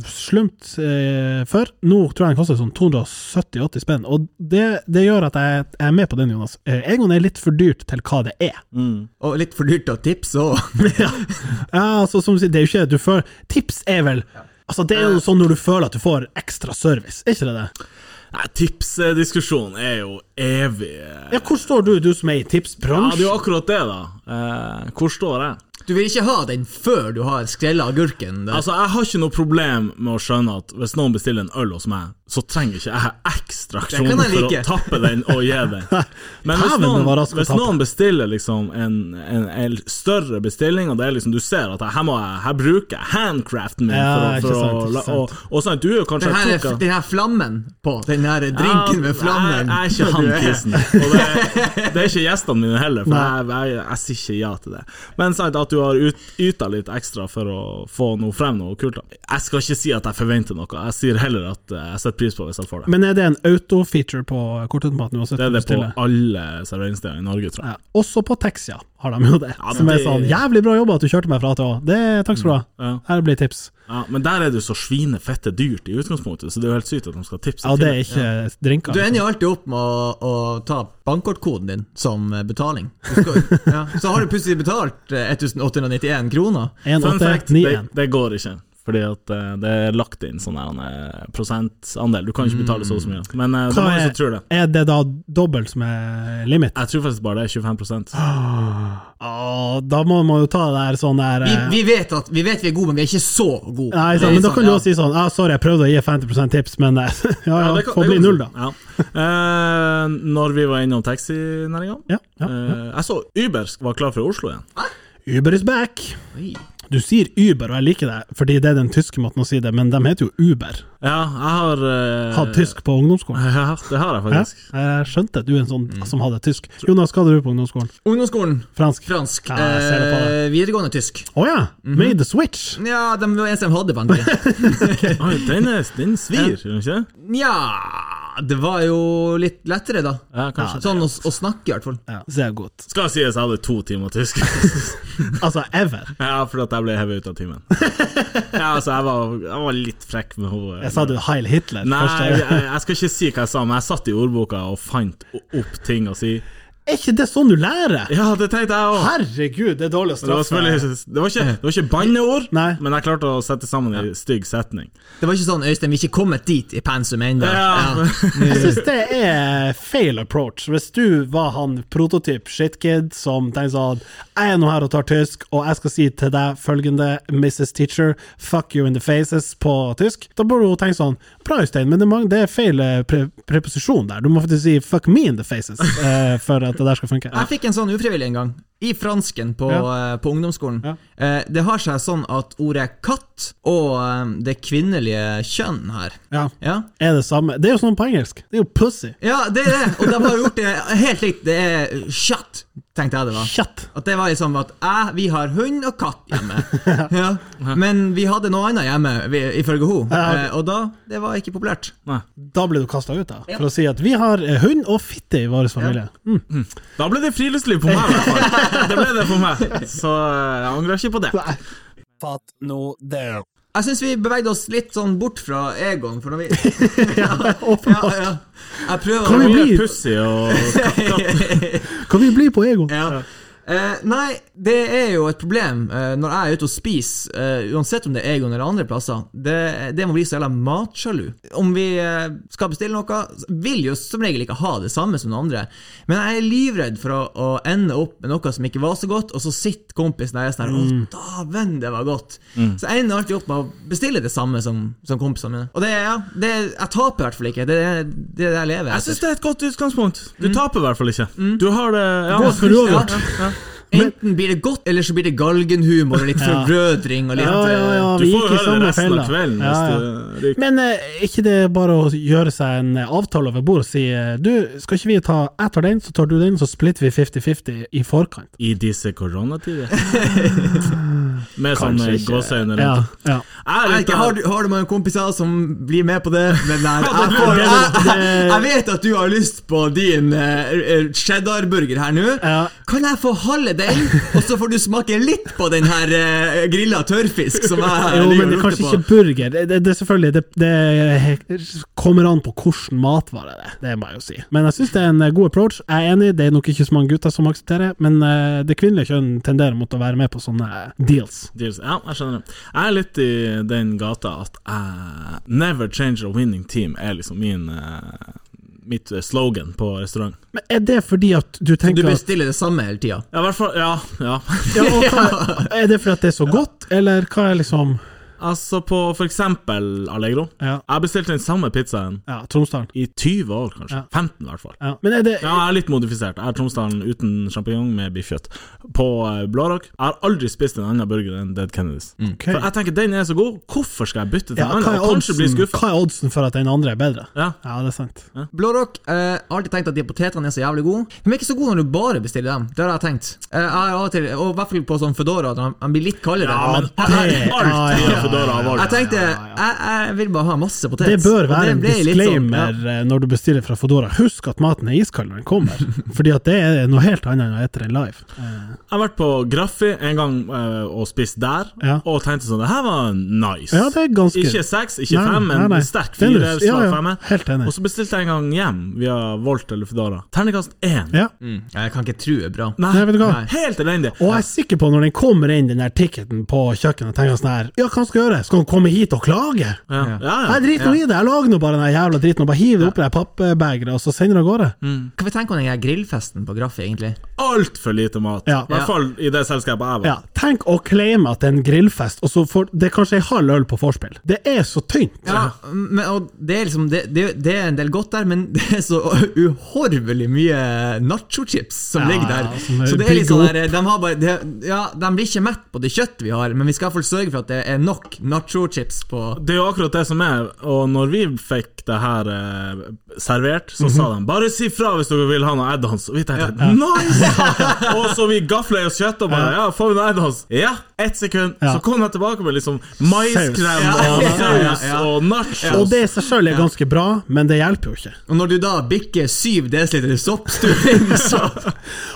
Speaker 2: slumt eh, før. Nå tror jeg den koster sånn 270-80 spenn. Og det, det gjør at jeg, jeg er med på den, Jonas. Eh, Egon er litt for dyrt til hva det er.
Speaker 3: Og litt for dyrt å tipse òg.
Speaker 2: ja. ja, altså som du sier, det er jo ikke du føler Tips er vel Altså Det er
Speaker 1: Eh.
Speaker 2: jo sånn når du føler at du får ekstra service, er ikke det det?
Speaker 1: Nei, tipsdiskusjonen er jo evig. Ja,
Speaker 2: Ja, Hvor står du, du som er i
Speaker 1: det Eh. er jo
Speaker 2: tipsbransjen?
Speaker 1: akkurat det, da. Eh, hvor står jeg?
Speaker 3: Du vil ikke ha den før du har skrella agurken. Det-
Speaker 1: Altså, Jeg har ikke noe problem med å skjønne at hvis noen bestiller en øl hos meg, så trenger ikke jeg ekstra aksjon
Speaker 3: Det kan jeg
Speaker 1: for
Speaker 3: like.
Speaker 1: å tappe den og gi den. Men hvis
Speaker 2: Dæven, den var
Speaker 1: noen,
Speaker 2: rask å
Speaker 1: hvis
Speaker 2: tappe.
Speaker 1: noen bestiller liksom en, en, en større bestilling, og det er liksom, du ser at her, må jeg, her bruker jeg handcraften min
Speaker 2: Ja,
Speaker 1: for, å- for
Speaker 2: ikke
Speaker 1: å
Speaker 2: sant,
Speaker 1: la-
Speaker 2: ikke sant.
Speaker 1: Og, og sant, du er jo kanskje
Speaker 3: den, her,
Speaker 1: tok av-
Speaker 3: den her flammen på. Den her drinken med flammen.
Speaker 1: Ah, Nei, jeg er ikke han tissen. Og det, er- det er ikke gjestene mine heller, for jeg, jeg, jeg, sier ikke ja til det. Men sant at du har ut, yta litt ekstra for å få noe frem noe kult. da. Jeg skal ikke si at jeg forventer noe, jeg sier heller at eh, jeg setter pris på hvis han får det.
Speaker 2: Men er det en auto-feature på kortautomaten uansett?
Speaker 1: Det
Speaker 2: hvor
Speaker 1: er det
Speaker 2: du
Speaker 1: på
Speaker 2: stiller?
Speaker 1: alle serveringssteder i Norge, tror jeg.
Speaker 2: Ja, også på Texia har de jo det,
Speaker 1: men
Speaker 2: som er
Speaker 1: det- Mm,
Speaker 2: sånn Jævlig bra jobba at du kjørte meg fra til Å. Det, takk skal du ha.
Speaker 1: Ja.
Speaker 2: Her blir tips.
Speaker 1: Ja, men der er det jo så svinefette dyrt i utgangspunktet, så det er jo helt sykt at de skal tipse
Speaker 2: Ja, det
Speaker 1: til
Speaker 2: er ikke drinker.
Speaker 3: Du ender jo alltid opp med å, å ta bankkortkoden din som eh, betaling. Du skal, ja. Så har du plutselig betalt eh, 1891 kroner.
Speaker 1: Fun fact,
Speaker 2: 1891.
Speaker 1: det, det går ikke. Fordi at eh, det er lagt inn sånn her, eh, prosentandel. Du kan ikke betale så og så mye. Men eh, det er
Speaker 2: Mm. Hva
Speaker 1: mange
Speaker 2: er-
Speaker 1: som tror det.
Speaker 2: Er det da dobbelt som er limit?
Speaker 1: Jeg tror faktisk bare det er 25
Speaker 2: Ah, Åh, da må man jo ta det her sånn der
Speaker 3: Vi,
Speaker 2: eh,
Speaker 3: vi, vet at, vi vet vi er gode, men vi er ikke så gode.
Speaker 2: Nei,
Speaker 3: Det
Speaker 2: sant,
Speaker 3: er
Speaker 2: men da
Speaker 3: sånn,
Speaker 2: kan du
Speaker 3: ja.
Speaker 2: også si sånn ah, 'Sorry, jeg prøvde å gi 50 tips, men eh, ja, ja,
Speaker 1: det kan-
Speaker 2: får
Speaker 1: det
Speaker 2: bli
Speaker 1: kan-
Speaker 2: null, da'.
Speaker 1: Ja. Eh, når vi var innom taxinæringa
Speaker 2: Ja, ja,
Speaker 1: eh, Jeg så Uber var klar for Oslo igjen. Eh.
Speaker 2: Uber is back.
Speaker 3: Oi.
Speaker 2: Du sier Uber, og jeg liker det, fordi det er den tyske måten å si det, men de heter jo Uber.
Speaker 1: Ja, jeg har eh,
Speaker 2: Hadde tysk på ungdomsskolen.
Speaker 1: Ja, det har jeg
Speaker 2: Hæ?
Speaker 1: faktisk.
Speaker 2: Jeg skjønte at du er en sånn
Speaker 1: Mm.
Speaker 2: som hadde tysk. Jonas, hva hadde du på ungdomsskolen?
Speaker 3: Ungdomsskolen,
Speaker 2: Fransk? Å
Speaker 3: fransk.
Speaker 2: Ja, jeg ser det på
Speaker 3: eh, videregående tysk.
Speaker 2: ja!
Speaker 1: Mhm.
Speaker 2: Made the switch!
Speaker 3: Ja, de var eneste de hadde på NTG.
Speaker 1: Oi, den, er, den svir, gjør den ikke det?
Speaker 3: Nja Det var jo litt lettere, da.
Speaker 1: Ja, kanskje.
Speaker 3: Sånn å, å snakke, i hvert fall.
Speaker 2: Ja, Sehr godt.
Speaker 1: Skal sies jeg hadde to timer tysk.
Speaker 2: Altså, ever.
Speaker 1: ja, fordi at jeg ble hevet ut av timen. ja, altså, jeg var, jeg var litt frekk med henne.
Speaker 2: Jeg sa du Heil Hitler
Speaker 1: Nei, jeg,
Speaker 2: først.
Speaker 1: jeg skal ikke si hva jeg sa, men jeg satt i ordboka og fant o- opp ting å si.
Speaker 2: Er ikke det sånn du lærer?
Speaker 1: Ja, det tenkte jeg òg.
Speaker 2: Herregud, det er dårlig å
Speaker 1: Det var
Speaker 2: straffe.
Speaker 1: selvfølgelig Det var ikke, det var ikke banneord,
Speaker 2: Nei.
Speaker 1: men jeg klarte å sette sammen en stygg setning.
Speaker 3: Det var ikke sånn Øystein, vi er ikke kommet dit i pensum ennå.
Speaker 1: Ja.
Speaker 2: Jeg syns det er fail approach. Hvis du var han prototyp shitkid som tenkte sånn Jeg er nå her og tar tysk, og jeg skal si til deg følgende, Mrs. Teacher, fuck you in the faces på tysk, da burde hun tenke sånn Bra, Øystein, men det er, mange, det er feil eh, pre preposisjon der. Du må faktisk si fuck me in the faces eh, for at det der skal funke.
Speaker 3: Jeg fikk en sånn ufrivillig en gang, i fransken på, eh, på ungdomsskolen. Eh, det har seg sånn at ordet katt og eh, det kvinnelige kjønn her
Speaker 2: Ja.
Speaker 3: Ja,
Speaker 2: Er det samme Det er jo sånn på engelsk. Det er jo pussy.
Speaker 3: ja det er det! Og de har gjort det helt likt. Det er chat, tenkte jeg det var.
Speaker 2: Shit.
Speaker 3: At det var liksom at jeg, vi har hund og katt hjemme. ja. Men vi hadde noe annet hjemme, vi- ifølge hun
Speaker 2: Ja,
Speaker 3: eh, Og da Det var ikke populært.
Speaker 1: Nei.
Speaker 2: Da ble du kasta ut, da. For å si at vi har eh, hund og fitte i vår familie. Mm.
Speaker 1: Da ble det friluftsliv på meg, i hvert fall. Det ble det for meg, så eh, jeg angrer ikke på det.
Speaker 6: Fatt nå det.
Speaker 3: Jeg syns vi bevegde oss litt sånn bort fra Egon, for når vi Ja,
Speaker 2: Åpenbart.
Speaker 3: ja. Jeg prøver
Speaker 2: Kan
Speaker 3: å
Speaker 2: vi
Speaker 1: Mye
Speaker 2: blir-
Speaker 1: pussig og
Speaker 2: Kan vi bli på Egon?
Speaker 3: Ja. Eh, nei, det er jo et problem eh, når jeg er ute og spiser, eh, uansett om det er Egon eller andre plasser. Det, det må bli så jævla matsjalu. Om vi eh, skal bestille noe, vil jo som regel ikke ha det samme som den andre. Men jeg er livredd for å, å ende opp med noe som ikke var så godt, og så sitter kompisen der og er sånn her, Å, dæven, det var godt. Så jeg ender alltid opp med å bestille det samme som, som kompisene mine. Og det, ja, det, jeg taper i hvert fall ikke. Det er det, det er det jeg lever
Speaker 1: Jeg syns det er et godt utgangspunkt. Du
Speaker 2: Mm.
Speaker 1: taper i hvert fall ikke. Du har det ja.
Speaker 2: Gå for yoghurt.
Speaker 1: Ja, ja, ja.
Speaker 3: Enten blir det godt, eller så blir det galgenhumor og litt forbrødring og litt
Speaker 2: Ja, ja, ja,
Speaker 1: eh, Du
Speaker 2: vi
Speaker 1: får
Speaker 2: gikk
Speaker 1: jo
Speaker 2: i
Speaker 1: høre det
Speaker 2: samme
Speaker 1: resten
Speaker 2: fella.
Speaker 1: av kvelden
Speaker 2: Ja,
Speaker 1: hvis
Speaker 2: ja.
Speaker 1: du ryker.
Speaker 2: Men eh, ikke det bare å gjøre seg en eh, avtale over bordet og si eh, du, skal ikke vi ta jeg tar den, så tar du den, så splitter vi 50-50 i forkant?
Speaker 1: I disse koronatider. Med sånne
Speaker 2: Kanskje ikke.
Speaker 1: gåseøyne
Speaker 2: Ja,
Speaker 1: rundt.
Speaker 2: ja.
Speaker 3: Jeg
Speaker 1: Jeg er
Speaker 3: vet
Speaker 1: eh, litt
Speaker 3: ikke, har,
Speaker 1: av-
Speaker 3: du, har du mange kompiser som blir med på det? Men nei, jeg, får,
Speaker 2: det-
Speaker 3: jeg, jeg,
Speaker 2: det-
Speaker 3: jeg vet at du har lyst på din eh, eh, cheddarburger her nå.
Speaker 2: Ja.
Speaker 3: Kan jeg få halve den, og så får du smake litt på den her eh, grilla tørrfisk som jeg
Speaker 2: Jo,
Speaker 3: ligger
Speaker 2: men det
Speaker 3: og
Speaker 2: er kanskje
Speaker 3: lukter
Speaker 2: ikke burger. Det, det, det er selvfølgelig det, det he- kommer an på hvilken matvare det er, det må jeg jo si. Men jeg syns det er en eh, god approach. Jeg er enig, det er nok ikke så mange gutter som aksepterer, men eh, det kvinnelige kjønn tenderer mot å være med på sånne eh, deals.
Speaker 1: Deals. Ja, jeg skjønner det. Jeg er litt i den gata at jeg Never change a winning team er liksom min eh, mitt slogan på restaurant.
Speaker 2: Men er det fordi at du
Speaker 3: på. Du
Speaker 2: tenker at
Speaker 3: bestiller det samme hele tida.
Speaker 1: Ja, i hvert fall Ja. ja.
Speaker 2: ja, og hva, Er det fordi at det er så godt, eller hva er liksom
Speaker 1: Altså på for eksempel Allegro.
Speaker 2: Ja.
Speaker 1: Jeg har bestilt den samme pizzaen
Speaker 2: Ja, Tromsdalen.
Speaker 1: i 20 år, kanskje.
Speaker 2: Ja.
Speaker 1: 15 i hvert fall.
Speaker 2: Ja. Men er det
Speaker 1: Ja, jeg er litt modifisert. Jeg er Tromsdalen uten sjampinjong med biffkjøtt. På eh, Blårock. Jeg har aldri spist en annen burger enn Dead Kennedys.
Speaker 2: Mm. Ok.
Speaker 1: For jeg tenker den er så god, hvorfor skal jeg bytte til
Speaker 2: ja,
Speaker 1: en
Speaker 2: hva,
Speaker 1: annen
Speaker 2: er
Speaker 1: og kanskje bli
Speaker 2: oddsen,
Speaker 1: skuffa?
Speaker 2: hva er oddsen for at den andre er bedre?
Speaker 1: Ja.
Speaker 2: Ja, det er sant.
Speaker 3: Blårock, eh, jeg har alltid tenkt at de potetene er så jævlig gode. Men De er ikke så gode når du bare bestiller dem. Det har jeg tenkt. Eh, jeg har av og til, og i hvert fall på sånn Foodora, at han, han blir litt kaldere.
Speaker 1: ja, men
Speaker 2: det-
Speaker 1: alt
Speaker 2: ja,
Speaker 1: er
Speaker 2: ja,
Speaker 1: for døra av
Speaker 3: Jeg
Speaker 1: alle.
Speaker 3: tenkte jeg, jeg vil bare ha masse potet.
Speaker 2: Det bør
Speaker 3: Og
Speaker 2: være en
Speaker 3: ble litt
Speaker 2: disclaimer
Speaker 3: Sånn,
Speaker 2: eh, når du bestiller fra Fodora. Husk at maten er iskald når den kommer, Fordi at det er noe helt annet enn å ete den live.
Speaker 1: Jeg har vært på Graffi en gang eh, og spist der,
Speaker 2: Ja.
Speaker 1: og tenkte sånn Det her var nice.
Speaker 2: Ja, det er ganske-
Speaker 1: Ikke seks, ikke
Speaker 2: Nei,
Speaker 1: fem,
Speaker 2: nei,
Speaker 1: men
Speaker 2: nei.
Speaker 1: sterk
Speaker 2: Det er
Speaker 1: fire.
Speaker 2: lurt.
Speaker 1: slag
Speaker 2: Ja, ja.
Speaker 1: femmer.
Speaker 2: Helt enig.
Speaker 1: Og så bestilte jeg en gang hjem via Volt eller Foodora. Terningkast én.
Speaker 2: Ja.
Speaker 3: ja. Mm, Jeg kan ikke tro det er bra.
Speaker 2: Nei, vet du hva?
Speaker 1: Nei. Helt elendig.
Speaker 2: Og jeg er sikker på når den kommer inn, den der ticketen på kjøkkenet, tenker jeg sånn her Ja, hva skal jeg gjøre? Skal han komme hit og klage?
Speaker 1: Ja, ja, ja.
Speaker 2: Jeg driter nå i det, jeg lager nå bare den her jævla driten og bare hiver det oppi det pappbegeret, og så sender det av gårde.
Speaker 3: Hva vi tenker om den her grillfesten på Graffi, egentlig?
Speaker 1: Altfor lite mat.
Speaker 2: Ja.
Speaker 1: I hvert fall i det selskapet jeg var.
Speaker 2: Ja, tenk å claime at det er en grillfest, og så får Det er kanskje ei halv øl på forspill. Det er så tynt.
Speaker 3: Ja, men, og det er liksom det, det, det er en del godt der, men det er så uhorvelig mye nachochips som
Speaker 2: Ja,
Speaker 3: ligger der.
Speaker 2: ja, som er
Speaker 3: så det er litt sånn
Speaker 2: bygget
Speaker 3: der, de, har bare, de, ja, de blir ikke mett på det kjøttet vi har, men vi skal iallfall sørge for at det er nok nachochips på
Speaker 1: Det er jo akkurat det som er, og når vi fikk det her eh, servert, så
Speaker 3: Mhm.
Speaker 1: sa de 'bare si fra hvis dere vil ha noe add-ons'. Og vi tenkte 'nice!' og så vi gafla i oss kjøtt og bare 'ja, får vi noe add-ons?' Ja, ett sekund.
Speaker 2: Ja.
Speaker 1: Så kom jeg tilbake med liksom maiskrem
Speaker 3: Saus.
Speaker 1: og
Speaker 3: Ja, ja, ja,
Speaker 1: saus
Speaker 3: ja.
Speaker 1: og
Speaker 2: Og
Speaker 1: nachos.
Speaker 2: det i seg sjøl er ganske bra, men det hjelper jo ikke.
Speaker 3: Og når du da bikker 7 dl soppstuing, så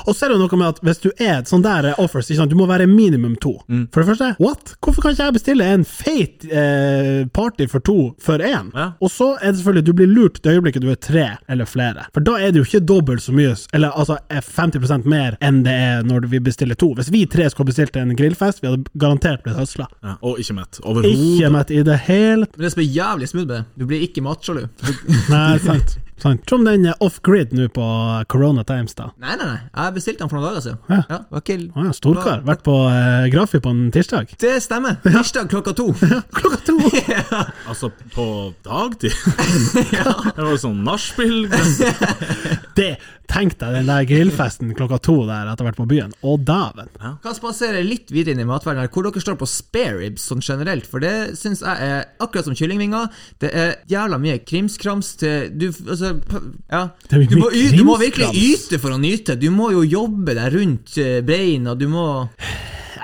Speaker 2: Og så er det jo noe med at hvis du er et sånn der offers, ikke sant? du må være minimum to. For det første, what? Hvorfor kan ikke jeg bestille en feit eh, party for to for én?
Speaker 1: Ja.
Speaker 2: Og så er det selvfølgelig, du blir lurt det øyeblikket du er tre eller flere. For da er det jo ikke dobbelt så mye, s- eller altså eh, 50 mer enn det er når vi bestiller to. Hvis vi tre skulle bestilt en grillfest, vi hadde garantert blitt høsla.
Speaker 1: Ja, og ikke mett.
Speaker 2: Ikke
Speaker 1: Overhodet.
Speaker 2: mett i det hele
Speaker 3: Men det som er jævlig smooth med det, du blir ikke matsjalu. Du-
Speaker 2: Nei, sant. sant. Som den er off-grid nå på eh, Corona Times, da.
Speaker 3: Nei, nei, nei, jeg bestilte den for noen dager siden.
Speaker 2: Ja.
Speaker 3: Ja, var ikke-
Speaker 2: Å ja, storkar. Vært på eh, Grafi på en tirsdag.
Speaker 3: Det stemmer. Tirsdag klokka to.
Speaker 2: Klokka to!
Speaker 1: Altså, på dagtid. Det var jo sånn nachspiel.
Speaker 2: Det, tenk deg den der grillfesten klokka to der etter hvert på byen. Å, dæven.
Speaker 3: Kan spasere litt videre inn i matverdenen her, hvor dere står på spare ribs sånn generelt, for det syns jeg er akkurat som kyllingvinger. Det er jævla mye krimskrams til Du altså p- Ja.
Speaker 2: Det er mye
Speaker 3: du, må, y- du må virkelig
Speaker 2: krimskrams.
Speaker 3: yte for å nyte. Du må jo jobbe deg rundt eh, beina, du må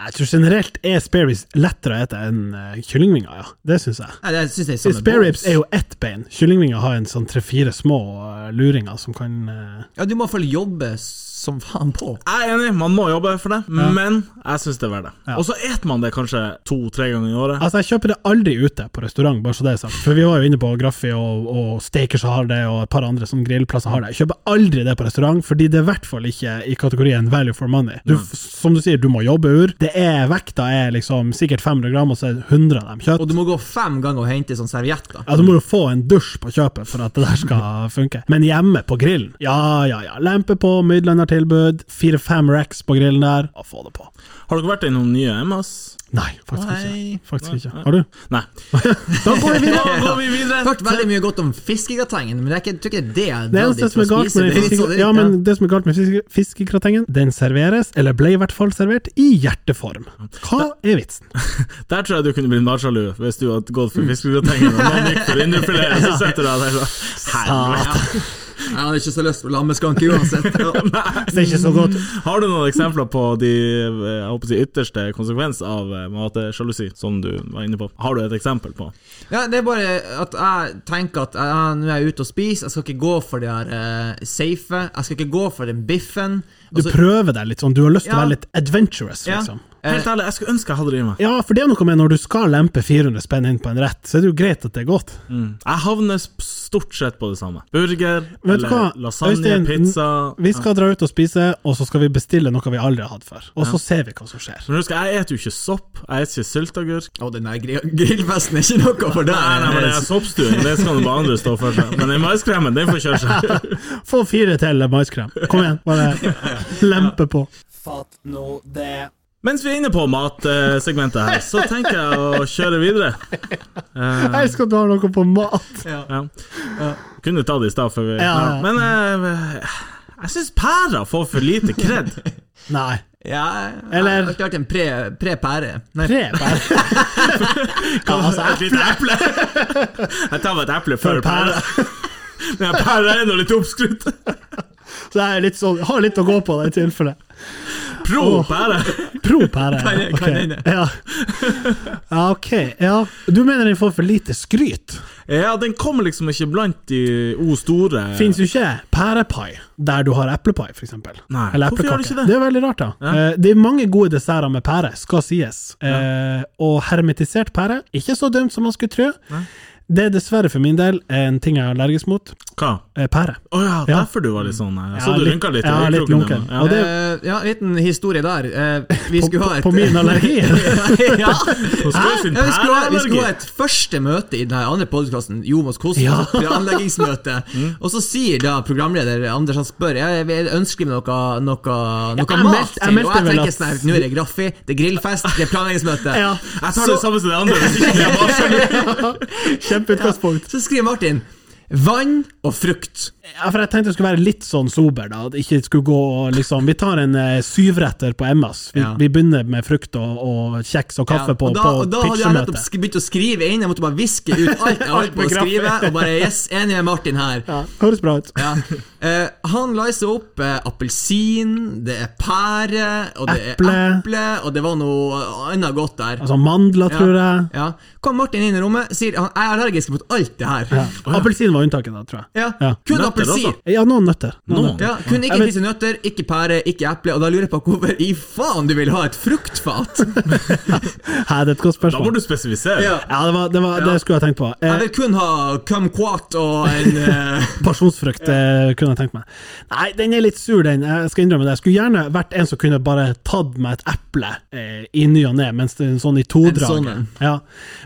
Speaker 2: Jeg tror generelt er spareribs lettere å ete enn eh, kyllingvinger, ja. Det syns jeg.
Speaker 3: Nei, det syns jeg er samme
Speaker 2: Spareribs
Speaker 3: bås.
Speaker 2: er jo ett bein. Kyllingvinger har en sånn tre-fire små eh, luringer som kan eh,
Speaker 3: Ja, du må i hvert fall jobbe som faen på.
Speaker 1: Jeg er enig, man må jobbe for det, men jeg syns det er verdt det.
Speaker 2: Ja.
Speaker 1: Og så et man det kanskje to-tre ganger i året.
Speaker 2: Altså, jeg kjøper det aldri ute på restaurant, bare så det er sagt. For vi var jo inne på Graffi, og, og Stakers har det, og et par andre som grillplasser har det. Jeg kjøper aldri det på restaurant, fordi det er i hvert fall ikke i kategorien value for money. Du, som du sier, du må jobbe ur. Det er, vekta er liksom sikkert 500 gram, og så er det 100 av dem kjøtt.
Speaker 3: Og du må gå fem ganger og hente sånn servietter.
Speaker 2: Ja, Du må jo få en dusj på kjøpet for at det der skal funke. Men hjemme på grillen, ja ja ja. Lempe på, middelandertilbud. Fire-fem racks på grillen der. Ja, få det på.
Speaker 1: Har dere vært innom nye MS?
Speaker 2: Nei, faktisk
Speaker 3: Nei.
Speaker 2: ikke. Faktisk ikke. Har du?
Speaker 1: Nei.
Speaker 2: Da går vi videre!
Speaker 1: Da går vi videre.
Speaker 3: Hørt veldig mye godt om fiskegratengen, men det er ikke, jeg tror ikke det er
Speaker 2: Det
Speaker 3: dratt
Speaker 2: eneste
Speaker 3: dit
Speaker 2: som er
Speaker 3: for å
Speaker 2: galt med,
Speaker 3: spise det.
Speaker 2: den fiske,
Speaker 3: Litt sånn-
Speaker 2: ja, men det som er galt med fiske, fiskegratengen, den serveres, eller ble i hvert fall servert, i hjerteform. Hva er vitsen?
Speaker 1: Der tror jeg du kunne blitt matsjalu hvis du hadde gått for fiskegratengene og noen gikk for indrefilet, så sitter du der og Helvete.
Speaker 3: Jeg hadde ikke så lyst på lammeskanke uansett. Ja.
Speaker 2: Det er ikke så godt.
Speaker 1: Har du noen eksempler på de eh, jeg håper å si, ytterste konsekvens av eh, matesjalusi, som du var inne på? Har du et eksempel på?
Speaker 3: Ja, det er bare at jeg tenker at ja, nå er jeg ute og spiser, jeg skal ikke gå for det her eh, safe, jeg skal ikke gå for den biffen.
Speaker 2: Du
Speaker 3: Altså,
Speaker 2: prøver deg litt sånn, du har lyst til å
Speaker 3: Ja.
Speaker 2: være litt adventurous,
Speaker 3: ja, Eh,
Speaker 2: liksom.
Speaker 1: Helt ærlig, jeg skulle ønske jeg hadde det i meg.
Speaker 2: Ja, for det er noe med når du skal lempe 400 spenn inn på en rett, så er det jo greit at det er godt.
Speaker 3: Mm.
Speaker 1: Jeg havner s- stort sett på det samme. Burger,
Speaker 2: Vet du hva,
Speaker 1: eller lasagne,
Speaker 2: Øystein,
Speaker 1: pizza
Speaker 2: Vi skal dra ut og spise, og så skal vi bestille noe vi aldri har hatt før. Og så ser vi hva som skjer.
Speaker 1: Men husk, jeg spiser jo ikke sopp, jeg spiser ikke sylteagurk.
Speaker 3: Å, den der grill- grillfesten er ikke noe for deg.
Speaker 1: Nei, nei, men det er soppstuing, det skal nå bare andre stå for seg. Men den maiskremen, den får kjøre seg.
Speaker 2: Få fire til maiskrem. Kom igjen, bare lempe på.
Speaker 6: Fatt nå det.
Speaker 1: Mens vi er inne på matsegmentet her, så tenker jeg å kjøre videre.
Speaker 2: Jeg skal du ha noe på mat.
Speaker 1: Ja. Kunne ta det i stad, før vi
Speaker 2: Ja.
Speaker 1: Men eh, jeg syns pærer får for lite kred.
Speaker 2: Nei.
Speaker 3: Ja, jeg-
Speaker 2: Eller-
Speaker 3: Jeg har ikke vært en pre- pre-pære. Nei,
Speaker 2: Tre bær. Ja, altså,
Speaker 1: Et lite eple. Jeg tar meg et eple før
Speaker 2: For pære.
Speaker 1: pære. Men pære er nå litt oppskrytt.
Speaker 2: Så jeg er litt sånn, har litt å gå på det i tilfelle.
Speaker 1: Pro pære!
Speaker 2: Pro pære.
Speaker 3: Kan- kan
Speaker 2: ok.
Speaker 3: hende.
Speaker 2: Ja. ja, ok. Ja. Du mener den får for lite skryt?
Speaker 1: Ja, den kommer liksom ikke blant de O store.
Speaker 2: Fins jo ikke pærepai der du har eplepai, f.eks.
Speaker 1: Nei,
Speaker 2: Eller
Speaker 1: hvorfor gjør
Speaker 2: eplekake.
Speaker 1: det ikke
Speaker 2: Det,
Speaker 1: det?
Speaker 2: er veldig rart, da. Eh, det er mange gode desserter med pære, skal sies. Eh, og hermetisert pære, ikke så dømt som man skulle tro. Det er dessverre for min del en ting jeg er allergisk mot.
Speaker 1: Hva?
Speaker 2: eh, pære.
Speaker 1: Å ja,
Speaker 2: Ja.
Speaker 1: derfor du var litt sånn her. Så du
Speaker 2: litt-
Speaker 1: rynka litt i
Speaker 2: Ja, litt
Speaker 1: øyekroken
Speaker 2: lunken.
Speaker 1: din, ja.
Speaker 2: Og det,
Speaker 3: Eh, ja, en liten historie der. Eh, vi
Speaker 2: på,
Speaker 3: skulle ha
Speaker 2: på,
Speaker 3: et
Speaker 2: på min allergi.
Speaker 3: ja. Hæ?
Speaker 1: Hun skal jo sin
Speaker 3: Ja, vi, skulle ha, vi skulle ha
Speaker 1: pæreallergi.
Speaker 3: et første møte i den her andre podkasten, Jomos Kosmos,
Speaker 2: Ja. Mm.
Speaker 3: det er anleggingsmøte. Og så sier da programleder Anders han spør Jeg vil ønske meg noe, noe, noe
Speaker 2: jeg meldte-
Speaker 3: mat.
Speaker 2: jeg
Speaker 3: sier han.
Speaker 2: meldte
Speaker 3: og jeg
Speaker 2: vel
Speaker 3: tenker
Speaker 2: at-
Speaker 3: sånn her, nå er det graffi, det er grillfest, det er planleggingsmøte.
Speaker 2: Ja.
Speaker 1: Jeg tar det samme som de andre. Hvis ikke det er bare sånn.
Speaker 2: Kjempeutgangspunkt.
Speaker 3: Så skriver Martin vann og frukt.
Speaker 2: Ja, for jeg tenkte jeg skulle være litt sånn sober, da. At det ikke skulle gå og liksom Vi tar en eh, syvretter på Emmas. Vi,
Speaker 3: Ja.
Speaker 2: vi begynner med frukt og, og kjeks og kaffe
Speaker 3: Ja,
Speaker 2: på,
Speaker 3: og da, og da
Speaker 2: på
Speaker 3: hadde jeg nettopp
Speaker 2: pitchemøtet.
Speaker 3: sk- begynt å skrive inn, jeg måtte bare viske ut alt jeg holdt på å
Speaker 2: med graffi.
Speaker 3: skrive, og bare yes, enig med Martin her.
Speaker 2: Ja, høres bra ut.
Speaker 3: Ja. Eh, han liser opp eh, appelsin, det er pære, og det er
Speaker 2: Eple.
Speaker 3: eple, og det var noe annet godt der.
Speaker 2: Altså mandler, tror jeg.
Speaker 3: Ja. Kom Martin inn i rommet, sier han jeg er allergisk mot alt det her. Ja,
Speaker 2: Appelsin var unntaket, da, tror jeg. Ja.
Speaker 3: Kun
Speaker 1: Nøtter
Speaker 3: appelsin.
Speaker 1: også.
Speaker 2: Ja, noen nøtter.
Speaker 1: Noen.
Speaker 3: Ja, kun ikke
Speaker 2: Jeg vet-
Speaker 3: spise nøtter, ikke pære, ikke eple, og da lurer jeg på hvorfor i faen du vil ha et fruktfat?
Speaker 2: Hæ, det er et godt
Speaker 1: Da må
Speaker 2: spørsmål.
Speaker 1: du spesifisere.
Speaker 3: Ja.
Speaker 2: Ja, det var, det, var, det skulle jeg tenkt på.
Speaker 3: Jeg
Speaker 2: Eh,
Speaker 3: vil kun ha kumquat og en eh,
Speaker 2: Pasjonsfrukt eh, kunne jeg tenkt meg. Nei, den er litt sur, den. Jeg skal innrømme det. Jeg skulle gjerne vært en som kunne bare tatt meg et eple eh, i ny og ne, mens det er en sånn i
Speaker 3: En sånn
Speaker 2: todraget.
Speaker 3: en.
Speaker 2: Ja.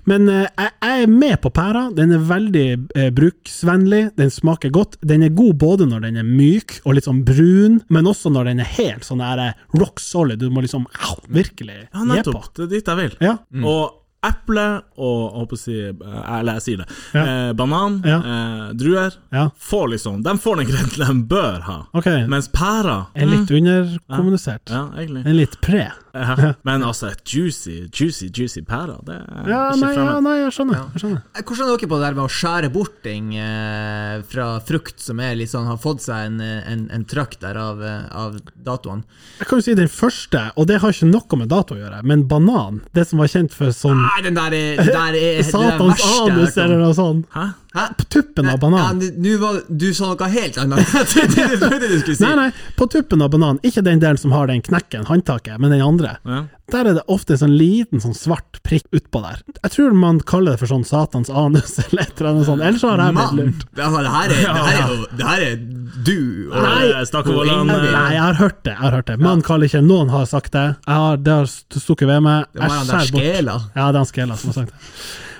Speaker 2: Men eh, jeg, jeg er med på pæra. Den er veldig eh, bruksvennlig, den smaker godt. Den er god både når den er myk og litt sånn brun, men også når den er helt sånn der, eh, rock solid. Du må liksom au, virkelig
Speaker 1: Ja,
Speaker 2: gi på.
Speaker 1: nettopp. Det er dit jeg vil.
Speaker 2: Ja.
Speaker 1: Og eple og jeg håper å si, Eller jeg sier det. Eh, banan,
Speaker 2: Ja.
Speaker 1: eh, druer.
Speaker 2: Ja.
Speaker 1: Får liksom, de får den grønten de bør ha.
Speaker 2: Ok.
Speaker 1: Mens pærer
Speaker 2: Er litt underkommunisert.
Speaker 1: Ja, egentlig.
Speaker 2: Er litt pre.
Speaker 1: Ja. Men altså, et juicy, juicy, juicy pære, det er
Speaker 2: Ja,
Speaker 1: ikke
Speaker 2: nei,
Speaker 1: fremmed.
Speaker 2: ja, nei, jeg skjønner. Jeg skjønner.
Speaker 3: Eh, Hvordan er dere på det der med å skjære bort ting eh, fra frukt som er litt sånn, har fått seg en, eh, en, en trøkk der av, eh, av datoene?
Speaker 2: Jeg kan jo si den første, og det har ikke noe med dato å gjøre, men banan. Det som var kjent for som
Speaker 3: Nei, den der er, den der er Ah, det
Speaker 2: Satans
Speaker 3: verste jeg har
Speaker 2: anus
Speaker 3: hørt om.
Speaker 2: eller noe sånt.
Speaker 1: Hæ?
Speaker 3: Hæ?
Speaker 2: På tuppen av banan.
Speaker 3: Ja, du, var, du sa noe helt annet. Jeg trodde jeg trodde du skulle si
Speaker 2: Nei, nei, på tuppen av banan. Ikke den delen som har den knekken, håndtaket, men den andre.
Speaker 1: Ja.
Speaker 2: Der er det ofte en sånn liten sånn svart prikk utpå der. Jeg tror man kaller det for sånn Satans anus eller et eller annet sånt. Ellers så har jeg blitt
Speaker 3: Mann!
Speaker 2: lurt.
Speaker 3: Altså, det her er, det her er, jo- det her er du og
Speaker 1: Nei. Stakkevollan,
Speaker 2: Nei,
Speaker 1: eh,
Speaker 2: jeg har hørt det. jeg har hørt det Man kaller ikke Noen har sagt det. Jeg har, det har st- stukket ved meg.
Speaker 3: Det var
Speaker 2: Jeg
Speaker 3: han der
Speaker 2: skjærer bort.
Speaker 3: Skela.
Speaker 2: Ja, det er han Skela som har sagt det.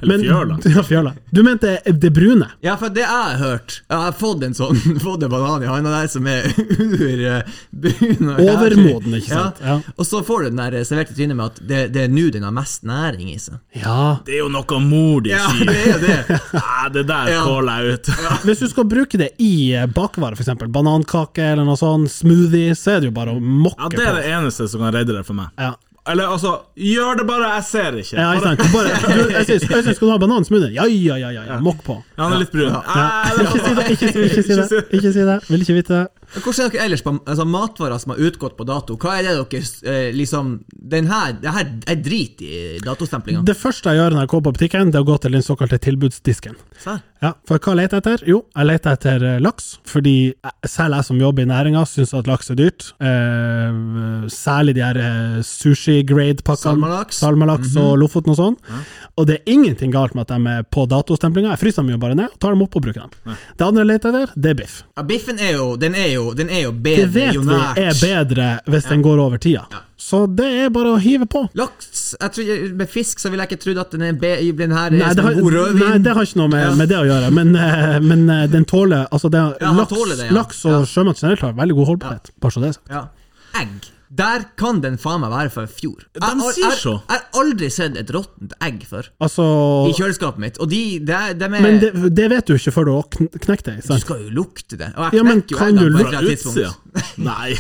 Speaker 1: Eller fjøla.
Speaker 2: Ja, fjøla. Du mente eh, det brune?
Speaker 3: Ja, for det jeg har hørt Jeg har fått en sånn Fått en banan i handa der som er eh, urbrun og
Speaker 2: Overmoden, ikke sant?
Speaker 3: Ja.
Speaker 2: Ja.
Speaker 3: Og så får du den der eh, servert i trynet med at det, det er nå den har mest næring i seg.
Speaker 2: Ja.
Speaker 1: Det er jo noe mor de
Speaker 3: Ja,
Speaker 1: sier.
Speaker 3: det er jo det.
Speaker 1: Nei, det der
Speaker 3: Ja.
Speaker 1: caller jeg ut.
Speaker 2: Hvis du skal bruke det i eh, bakvarer, f.eks. banankake eller noe sånt, smoothie, så er det jo bare å
Speaker 1: Ja,
Speaker 2: mokke
Speaker 1: Det er
Speaker 2: på.
Speaker 1: det eneste som kan redde det for meg.
Speaker 2: Ja.
Speaker 1: Eller altså, gjør det bare, jeg ser ikke.
Speaker 2: Ja, ikke sant. Du Bare, du, jeg synes, jeg synes, skal du ha banansmoothie? Ja, ja, ja, ja, ja. mokk på.
Speaker 1: Ja, han er litt brun. Nei, det er
Speaker 2: Ikke si det, ikke si, ikke si det. Ikke si det. Vil ikke vite det.
Speaker 3: Hvordan er dere ellers på altså, matvarer som har utgått på dato? Hva er det dere eh, liksom Den her, det her er drit i datostemplinga.
Speaker 2: Det første jeg gjør når jeg kommer på butikken, det er å gå til den såkalte tilbudsdisken.
Speaker 1: Serr?
Speaker 2: Ja, For hva leter jeg etter? Jo, jeg leter etter eh, laks, fordi jeg- selv jeg som jobber i næringa, syns at laks er dyrt. Eh, særlig de her eh, sushi-grade-pakkene.
Speaker 3: Salmalaks.
Speaker 2: Salmalaks og Lofoten og sånn. Og det er ingenting galt med at de er på datostemplinga. Jeg fryser dem jo bare ned, og tar dem opp og bruker dem. Det andre jeg leter etter, det er biff.
Speaker 3: Ja, biffen er jo Den er jo, den er jo
Speaker 2: Det
Speaker 3: bedre,
Speaker 2: vet
Speaker 3: jo
Speaker 2: vi
Speaker 3: nært.
Speaker 2: er bedre hvis den går over tida. Så det er bare å hive på.
Speaker 3: Laks jeg tror, Med fisk så vil jeg ikke trodd at den er be, den her er
Speaker 2: Nei det,
Speaker 3: som
Speaker 2: har,
Speaker 3: en god rødvin.
Speaker 2: nei, det har ikke noe med, med det å gjøre, men, eh, men eh, den tåler Altså, det, er-
Speaker 3: Ja, han
Speaker 2: laks,
Speaker 3: tåler det, ja.
Speaker 2: laks og
Speaker 3: Ja.
Speaker 2: sjømat generelt har veldig god holdbarhet. Bare så det er sagt.
Speaker 3: Ja. Egg. Der kan den faen meg være fra i fjor. Jeg
Speaker 1: De
Speaker 3: har-
Speaker 1: sier
Speaker 3: jeg-
Speaker 1: så.
Speaker 3: Jeg har aldri sett et råttent egg før.
Speaker 2: Altså
Speaker 3: I kjøleskapet mitt. Og de, de, de er
Speaker 2: Men det, det vet du ikke før du har kn- knekt det.
Speaker 3: Du
Speaker 2: Sant?
Speaker 3: skal jo lukte det.
Speaker 2: Ja,
Speaker 3: Og jeg
Speaker 2: men
Speaker 3: knekker jo
Speaker 2: kan du
Speaker 3: eggene på et
Speaker 2: lukte
Speaker 3: eller
Speaker 1: Fra
Speaker 3: annet tidspunkt.
Speaker 1: utsida? Nei.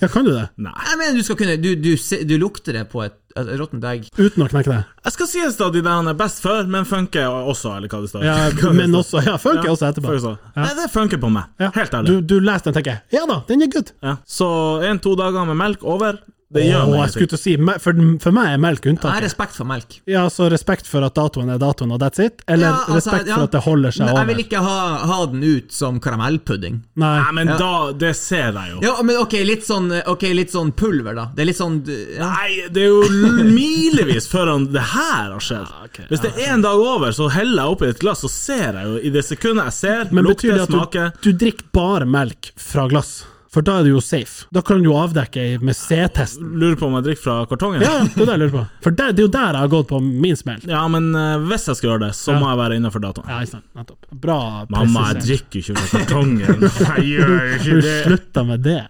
Speaker 2: Ja, kan du det?
Speaker 1: Nei.
Speaker 3: Jeg mener du skal kunne Du, du, se- du lukter det på et, et råttent egg.
Speaker 2: Uten å knekke det?
Speaker 1: Jeg skal si at de der han er best før, men funker også, eller hva det står.
Speaker 2: Ja,
Speaker 1: Hva det
Speaker 2: men
Speaker 1: står.
Speaker 2: også Ja, funker
Speaker 1: Ja,
Speaker 2: også etterpå.
Speaker 1: funker også. Nei, det funker på meg.
Speaker 2: Ja.
Speaker 1: Helt ærlig.
Speaker 2: Du, du leser den og tenker Ja da, den er good.
Speaker 1: Ja. Så en-to dager med melk over. Det gjør
Speaker 2: Åh,
Speaker 1: meg
Speaker 2: jeg skulle
Speaker 1: ingenting.
Speaker 2: til å si, me- for, for meg er melk
Speaker 3: Jeg har
Speaker 2: unntaket.
Speaker 3: respekt for melk.
Speaker 2: Ja, så respekt for at datoen er datoen, og that's it? Eller
Speaker 3: Ja, altså,
Speaker 2: respekt
Speaker 3: ja.
Speaker 2: for at det holder seg
Speaker 3: Men Jeg
Speaker 2: over?
Speaker 3: vil ikke ha, ha den ut som karamellpudding.
Speaker 2: Nei.
Speaker 1: Nei, men da Det ser jeg jo.
Speaker 3: Ja, men ok, litt sånn, ok, litt sånn pulver, da. Det er litt sånn ja.
Speaker 1: Nei, det er jo l- milevis før han, det her har skjedd. Hvis det er en dag over, så heller jeg oppi et glass, så ser jeg jo i det sekundet jeg ser,
Speaker 2: Men betyr
Speaker 1: lukter,
Speaker 2: det at
Speaker 1: smaker
Speaker 2: du, du drikker bare melk fra glass? For da er du jo safe. Da kan du jo avdekke i- med C-testen.
Speaker 1: Lurer på om jeg drikker fra kartongen?
Speaker 2: Ja, det er det jeg lurer på. For det, det er jo der jeg har gått på min smell.
Speaker 1: Ja, men eh, hvis jeg skal gjøre det, så
Speaker 2: Ja.
Speaker 1: må jeg være innenfor datoen.
Speaker 2: Ja, ikke sant. Nettopp. Bra
Speaker 1: Mamma, jeg
Speaker 2: presisert.
Speaker 1: drikker ikke fra kartongen. Jeg gjør ikke
Speaker 2: Har du
Speaker 1: det.
Speaker 2: slutta med det?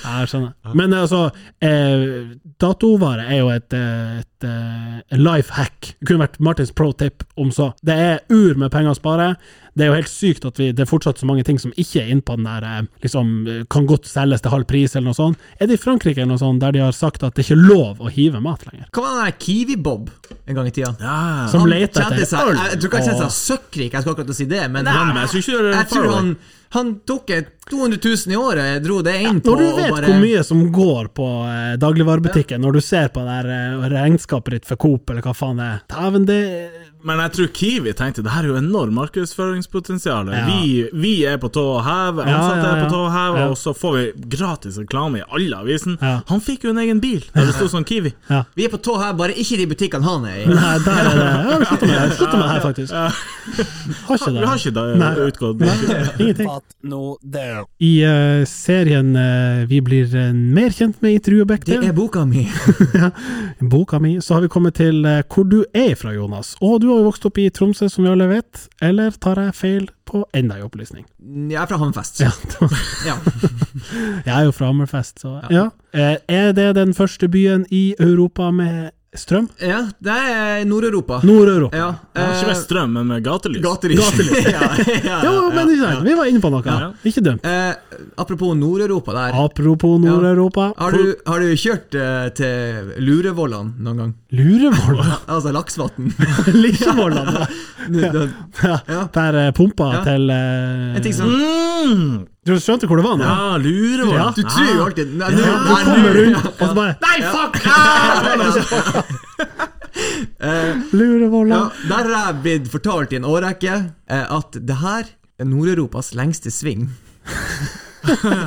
Speaker 2: Jeg skjønner. Men altså, eh, datovare er jo et, eh, et, eh, life hack. Det kunne vært Martins pro tip om så. Det er ur med penger å spare. Det er jo helt sykt at vi, det er fortsatt så mange ting som ikke er inne på den der eh, liksom, eh, kan godt selges til halv pris, eller noe sånt. Er det i Frankrike eller noe sånt der de har sagt at det ikke er lov å hive mat lenger?
Speaker 3: Hva var den der Kiwi-Bob en gang i tida?
Speaker 1: Ja.
Speaker 2: Som
Speaker 3: Han
Speaker 2: leter
Speaker 3: kjente
Speaker 2: etter
Speaker 3: seg,
Speaker 2: øl.
Speaker 3: Jeg, jeg tror ikke han kjente
Speaker 2: og-
Speaker 3: seg søkkrik, jeg skal akkurat til å si det, men
Speaker 1: Nei,
Speaker 3: han,
Speaker 1: men jeg tror ikke det er
Speaker 3: jeg
Speaker 1: far
Speaker 3: tror
Speaker 1: away.
Speaker 3: han, han tok et 200 000 i året, dro det inn på
Speaker 2: Når du
Speaker 3: og
Speaker 2: vet
Speaker 3: bare-
Speaker 2: hvor mye som går på eh, dagligvarebutikken, når du ser på det der eh, regnskapet ditt for Coop, eller hva faen det er Dæven, det
Speaker 1: Men jeg tror Kiwi tenkte det her er jo enormt markedsføringspotensial.
Speaker 2: Ja.
Speaker 1: Vi, vi er på tå og heve,
Speaker 2: Ja,
Speaker 1: ansatte
Speaker 2: ja,
Speaker 1: er
Speaker 2: ja.
Speaker 1: på tå og heve,
Speaker 2: Ja.
Speaker 1: og så får vi gratis reklame i alle avisen.
Speaker 2: Ja.
Speaker 1: Han fikk jo en egen bil der det sto sånn Kiwi.
Speaker 3: Vi er på tå her, bare ikke i de butikkene han er i.
Speaker 2: Nei, der er det. Jeg har slutta med det, slutta med det her, faktisk. Har ikke det.
Speaker 1: Vi har ikke da
Speaker 2: Nei.
Speaker 1: utgått
Speaker 2: Nei, ingenting.
Speaker 6: Fatt nå det.
Speaker 2: I eh, serien eh, vi blir eh, mer kjent med i True og
Speaker 3: Det
Speaker 2: Bekte,
Speaker 3: er boka mi.
Speaker 2: boka mi, så har vi kommet til eh, hvor du er fra, Jonas. Og du har jo vokst opp i Tromsø, som vi alle vet. Eller tar jeg feil på enda en opplysning?
Speaker 3: Jeg er fra Hammerfest.
Speaker 2: Ja,
Speaker 3: Ja.
Speaker 2: jeg er jo fra Hammerfest, så ja. Eh, Er det den første byen i Europa med strøm?
Speaker 3: ja, det er Nord-Europa.
Speaker 2: Nord-Europa.
Speaker 3: Ja,
Speaker 1: Ikke
Speaker 3: eh,
Speaker 1: med strøm, men med gatelys.
Speaker 3: Gatelys. ja, ja,
Speaker 2: Jo,
Speaker 3: ja.
Speaker 2: men ikke sant, vi var inne på noe.
Speaker 1: Ja.
Speaker 2: Ikke dømt.
Speaker 3: Eh, apropos Nord-Europa der.
Speaker 2: Apropos Nord-Europa.
Speaker 3: Har du, har du kjørt eh, til Lurevollan noen gang?
Speaker 2: Lurevoll?
Speaker 3: Altså Laksvatn?
Speaker 2: Lillevollene?
Speaker 3: Ja.
Speaker 2: Der eh, pumpa
Speaker 3: Ja.
Speaker 2: til eh,
Speaker 3: En ting som
Speaker 1: Mm.
Speaker 2: Du skjønte hvor det var nå?
Speaker 1: Ja, lurer hva
Speaker 3: Du tror jo alltid Nei, nå-
Speaker 2: Ja, du
Speaker 3: nei,
Speaker 2: kommer
Speaker 3: nå-
Speaker 2: rundt og så bare Nei, fuck! Ah! Lurevolla.
Speaker 3: Ja, der har jeg blitt fortalt i en årrekke eh, at det her er Nord-Europas lengste sving.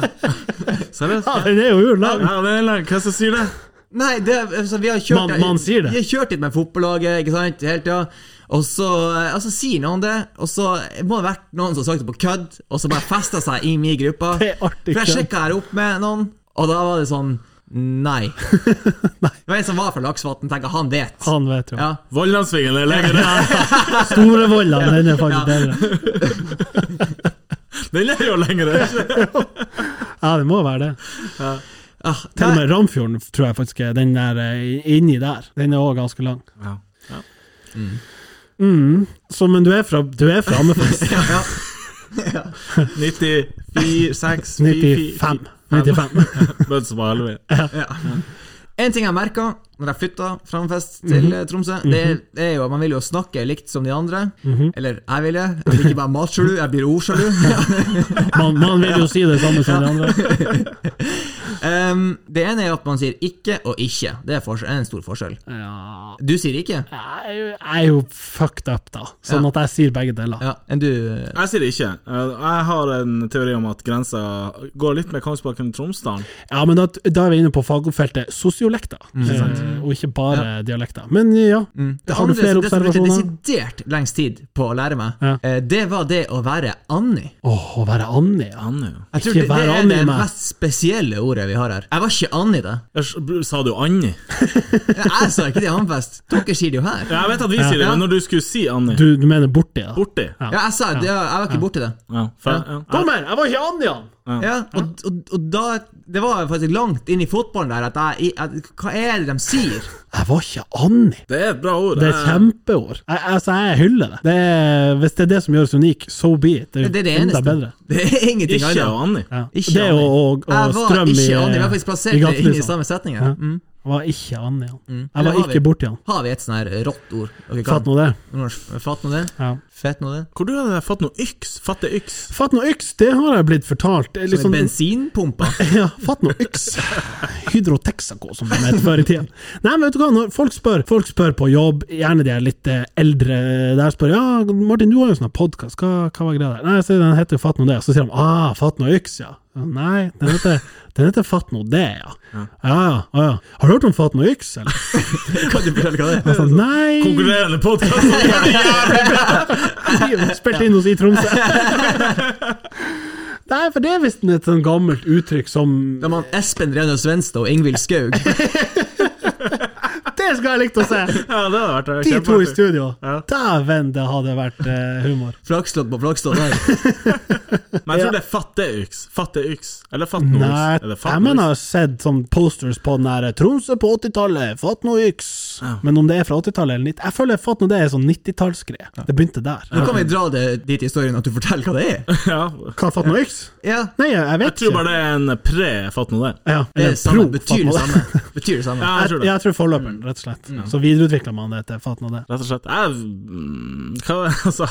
Speaker 1: Seriøst?
Speaker 2: Ja, den er jo urlang.
Speaker 1: Ja, det er langt. Hva er det som sier det?
Speaker 3: Nei, det, er- altså, vi har kjørt
Speaker 2: Man- man sier det.
Speaker 3: Vi har kjørt litt med fotballaget, ikke sant, hele tida. Og så eh, altså, sier noen det, og så må det ha vært noen som har sagt det på kødd, og så bare festa seg i min gruppe.
Speaker 2: Det er artig
Speaker 3: For jeg
Speaker 2: kødd.
Speaker 3: sjekka her opp med noen, og da var det sånn Nei. Det var en som var fra Laksvatn, tenker han vet.
Speaker 2: Han vet jo.
Speaker 3: Ja.
Speaker 1: Vollandsvingen er lenger.
Speaker 2: Storevolla, den er faktisk bedre.
Speaker 1: Den er jo lengre.
Speaker 2: Ja, det må være det.
Speaker 3: Ah,
Speaker 2: Til og
Speaker 3: nei.
Speaker 2: med Ramfjorden tror jeg faktisk er den der eh, inni der. Den er òg ganske lang.
Speaker 1: Ja.
Speaker 2: Mm. Så, men du er fra, du er fra Hammerfest?
Speaker 3: Ja, ja.
Speaker 1: 94, 6,
Speaker 2: 95. 95.
Speaker 1: Bød som var helvete.
Speaker 3: En ting jeg merka når jeg flytta fra Hammerfest til
Speaker 2: Mhm.
Speaker 3: eh, Tromsø, det, er- det er jo at man vil jo snakke likt som de andre.
Speaker 2: Mhm.
Speaker 3: Eller jeg ville. Jeg blir ikke bare matsjalu, jeg blir ordsjalu.
Speaker 2: Man, man vil jo si det samme som de andre.
Speaker 3: um, det ene er at man sier ikke og ikke. Det er, forskjell, er en stor forskjell.
Speaker 2: Ja.
Speaker 3: Du sier ikke,
Speaker 2: Jeg er jo- jeg er jo fucked up, da. Sånn
Speaker 3: Ja.
Speaker 2: at jeg sier begge deler.
Speaker 3: ja, enn du
Speaker 1: Jeg sier det ikke. Jeg har en teori om at grensa går litt med Kongsbakken og Tromsdalen.
Speaker 2: Ja, men da, da er vi inne på fagfeltet sosiolekter,
Speaker 3: Mm.
Speaker 2: eh, og ikke bare dialekter. Men eh, ja,
Speaker 3: Det
Speaker 2: har du
Speaker 3: andre
Speaker 2: flere
Speaker 3: som- det som brukte
Speaker 2: observasjoner?
Speaker 3: desidert lengst tid på å lære meg,
Speaker 2: Ja.
Speaker 3: eh, det var det å være Annie.
Speaker 2: Åh, å være Annie, ja.
Speaker 1: Han er jo
Speaker 3: Jeg tror
Speaker 2: Ikke
Speaker 3: det, det
Speaker 2: være
Speaker 3: er
Speaker 2: Annie,
Speaker 3: det
Speaker 2: meg.
Speaker 3: mest spesielle ordet vi har her. Jeg var ikke Annie, det.
Speaker 1: Jeg s- Sa du Anni?
Speaker 3: Jeg sa ikke det i Hammerfest. Dere sier det jo her.
Speaker 1: Ja, Jeg vet at vi sier det,
Speaker 3: Ja.
Speaker 1: men når du skulle si Anni
Speaker 2: Du, du mener borti, da?
Speaker 1: Borti.
Speaker 2: Ja.
Speaker 3: Ja, jeg sa det. ja, Jeg var ikke borti det.
Speaker 1: Ja, fair, ja.
Speaker 2: Dommer, jeg var ikke Annie, han!
Speaker 3: Ja, og, og, og da Det var faktisk langt inn i fotballen der at jeg at, Hva er det de sier?
Speaker 2: Jeg var ikke Annie!
Speaker 1: Det er et bra ord. Eh,
Speaker 2: Det
Speaker 3: Ah.
Speaker 2: er et
Speaker 1: Jeg-
Speaker 2: kjempeår. Jeg, altså, jeg hyller det. det er, hvis det er det som gjør oss unik, so be it. Det er,
Speaker 3: Det er det
Speaker 2: enda
Speaker 3: eneste.
Speaker 2: bedre.
Speaker 3: Det er ingenting
Speaker 1: Ikke
Speaker 3: annet.
Speaker 1: Anni.
Speaker 2: Ja.
Speaker 3: Ikke
Speaker 2: det er jo
Speaker 3: Annie.
Speaker 2: å, å, å
Speaker 3: Jeg var
Speaker 2: strøm i liksom.
Speaker 3: ikke Annie, vi har faktisk plassert det inn i samme setning. her. Mm.
Speaker 2: Var ikke an i han. Jeg
Speaker 3: Eller
Speaker 2: var
Speaker 3: har vi-
Speaker 2: ikke borti han.
Speaker 3: Har vi et sånn her rått ord? Dere kan-
Speaker 2: Fatt nå det.
Speaker 3: Norsk. Fatt nå det.
Speaker 2: Ja.
Speaker 3: Fett nå det.
Speaker 1: Hvor du har fått noe yks? Fatte yks?
Speaker 2: Fatt nå yks, det har jeg blitt fortalt. Det er litt
Speaker 3: Som
Speaker 2: sånn-
Speaker 3: bensinpumpa.
Speaker 2: Ja, fatt nå yks. Hydro-Texaco, som de het før i tida. Nei, men vet du hva, når folk spør, folk spør på jobb, gjerne de er litt eh, eldre der, spør ja, Martin, du har jo sånn podkast, hva, hva var greia der? Nei, så den heter jo Fatt nå det, og så sier de ah, Fatt nå yks, ja. Ja, Nei, den heter, den heter Fatt nå det, ja. Ja, ja, ja. Har du hørt om Fatt nå yks, eller?
Speaker 3: Kan du fortelle hva det
Speaker 2: Jeg
Speaker 3: er?
Speaker 2: sa, Nei,
Speaker 1: Konkurrerende podkast!
Speaker 2: spilte inn hos i Tromsø. Nei, for det er visst et sånn gammelt uttrykk som
Speaker 3: Da man Espen Renø Svenstad og Ingvild Skaug.
Speaker 2: Det skulle jeg likt å se!
Speaker 1: Ja, det hadde
Speaker 2: De
Speaker 1: vært eh,
Speaker 2: to i
Speaker 1: kjempeartig.
Speaker 2: studio.
Speaker 1: Ja.
Speaker 2: Dæven, det hadde vært eh, humor.
Speaker 3: Flakslodd på flakslodd der.
Speaker 1: Men jeg
Speaker 2: Ja.
Speaker 1: tror det er fatte yks. Fatte yks. Eller fatt noe
Speaker 2: Nei,
Speaker 1: yks. Er det fatt
Speaker 2: jeg
Speaker 1: noe
Speaker 2: mener jeg
Speaker 1: yks?
Speaker 2: har sett sånn posters på den der Tromsø på 80-tallet, fatt noe yks. Men om det er fra 80-tallet eller 90 Jeg føler fatt nå det er sånn 90-tallsgreie. Det begynte der.
Speaker 3: Nå kan vi dra det dit i historien at du forteller hva det er.
Speaker 1: Ja.
Speaker 2: Hva fatt noe yks?
Speaker 3: Ja,
Speaker 2: Nei, jeg, jeg
Speaker 1: Jeg
Speaker 2: vet
Speaker 1: tror
Speaker 2: ikke.
Speaker 1: bare det er en pre-fatt noe det.
Speaker 2: Ja,
Speaker 3: det
Speaker 2: eller
Speaker 3: er samme,
Speaker 2: pro,
Speaker 3: betyr
Speaker 2: fatt
Speaker 3: det
Speaker 2: nå det.
Speaker 3: samme. Betyr det samme.
Speaker 1: Ja, jeg
Speaker 2: Jeg,
Speaker 1: tror det. Mm.
Speaker 2: jeg tror forløperen, rett og slett. Så videreutvikla man det til fatt nå det.
Speaker 1: Rett og slett. Jeg mm, hva, Altså,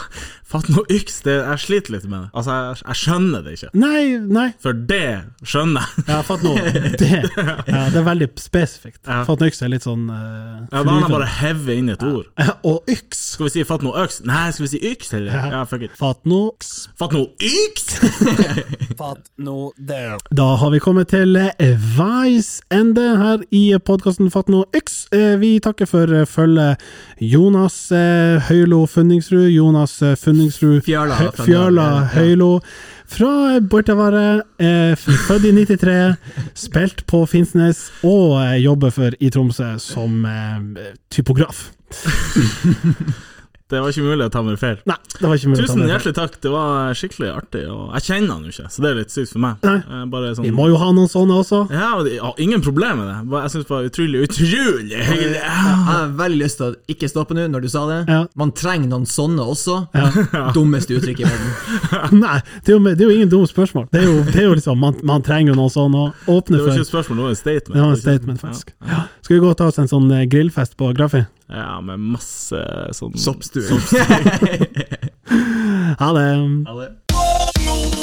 Speaker 1: fatt noe yks, det, jeg sliter litt med det. Altså, jeg, jeg skjønner det ikke.
Speaker 2: Nei, nei.
Speaker 1: For det skjønner jeg.
Speaker 2: Ja, fatt nå det. Ja, det er veldig spesifikt.
Speaker 1: Ja.
Speaker 2: Fatt nå yks er litt sånn uh,
Speaker 1: Ja, da har jeg bare hevet inn et ord.
Speaker 2: Og yks.
Speaker 1: Skal vi si fatt noe øks? Nei, skal vi si yks, eller?
Speaker 2: Ja.
Speaker 1: Ja, fuck it.
Speaker 2: Fatt nå yks.
Speaker 1: Fatt noe yks!
Speaker 6: Fatt nå det.
Speaker 2: Da har vi kommet til eh, veis ende her i podkasten Fatt nå yks. Eh, Vi takker for eh, følget Jonas eh, Høylo Funningsrud, Jonas eh, Funningsrud
Speaker 3: Fjørla
Speaker 2: Hø-
Speaker 3: fra
Speaker 2: Fjørla
Speaker 3: Norge, ja.
Speaker 2: Høylo fra eh, Bortavare, eh, f- født i 93, spilt på Finnsnes og eh, jobber for i Tromsø som eh, typograf.
Speaker 1: Det var ikke mulig å ta meg feil.
Speaker 2: Nei, det var ikke mulig å ta
Speaker 1: Tusen
Speaker 2: med.
Speaker 1: hjertelig takk, det var skikkelig artig. Og jeg kjenner han jo ikke, så det er litt sykt for meg.
Speaker 2: Nei.
Speaker 1: Eh, Bare sånn
Speaker 2: Vi må jo ha noen sånne også.
Speaker 1: ja, og det- ja, Ingen problem med det. Bare- Jeg syns det var utrolig, utrolig hyggelig. Ja.
Speaker 3: Jeg har veldig lyst til å ikke stoppe nå, når du sa det.
Speaker 2: Ja.
Speaker 3: Man trenger noen sånne også. Dummeste uttrykk i verden.
Speaker 2: Nei, det er, jo, det er jo ingen dumme spørsmål. Det er jo, det er jo liksom, man, man trenger jo noe sånn å åpne
Speaker 1: Det var
Speaker 2: for.
Speaker 1: ikke et spørsmål, det var en statement.
Speaker 2: Det var en
Speaker 1: ikke sant?
Speaker 2: statement, faktisk. Ja. Skal vi gå og ta oss en sånn eh, grillfest på Grafi?
Speaker 1: Ja. ja, med masse sånn
Speaker 3: Soppstue.
Speaker 2: Ha det!
Speaker 3: Ha det.
Speaker 5: Fatt nå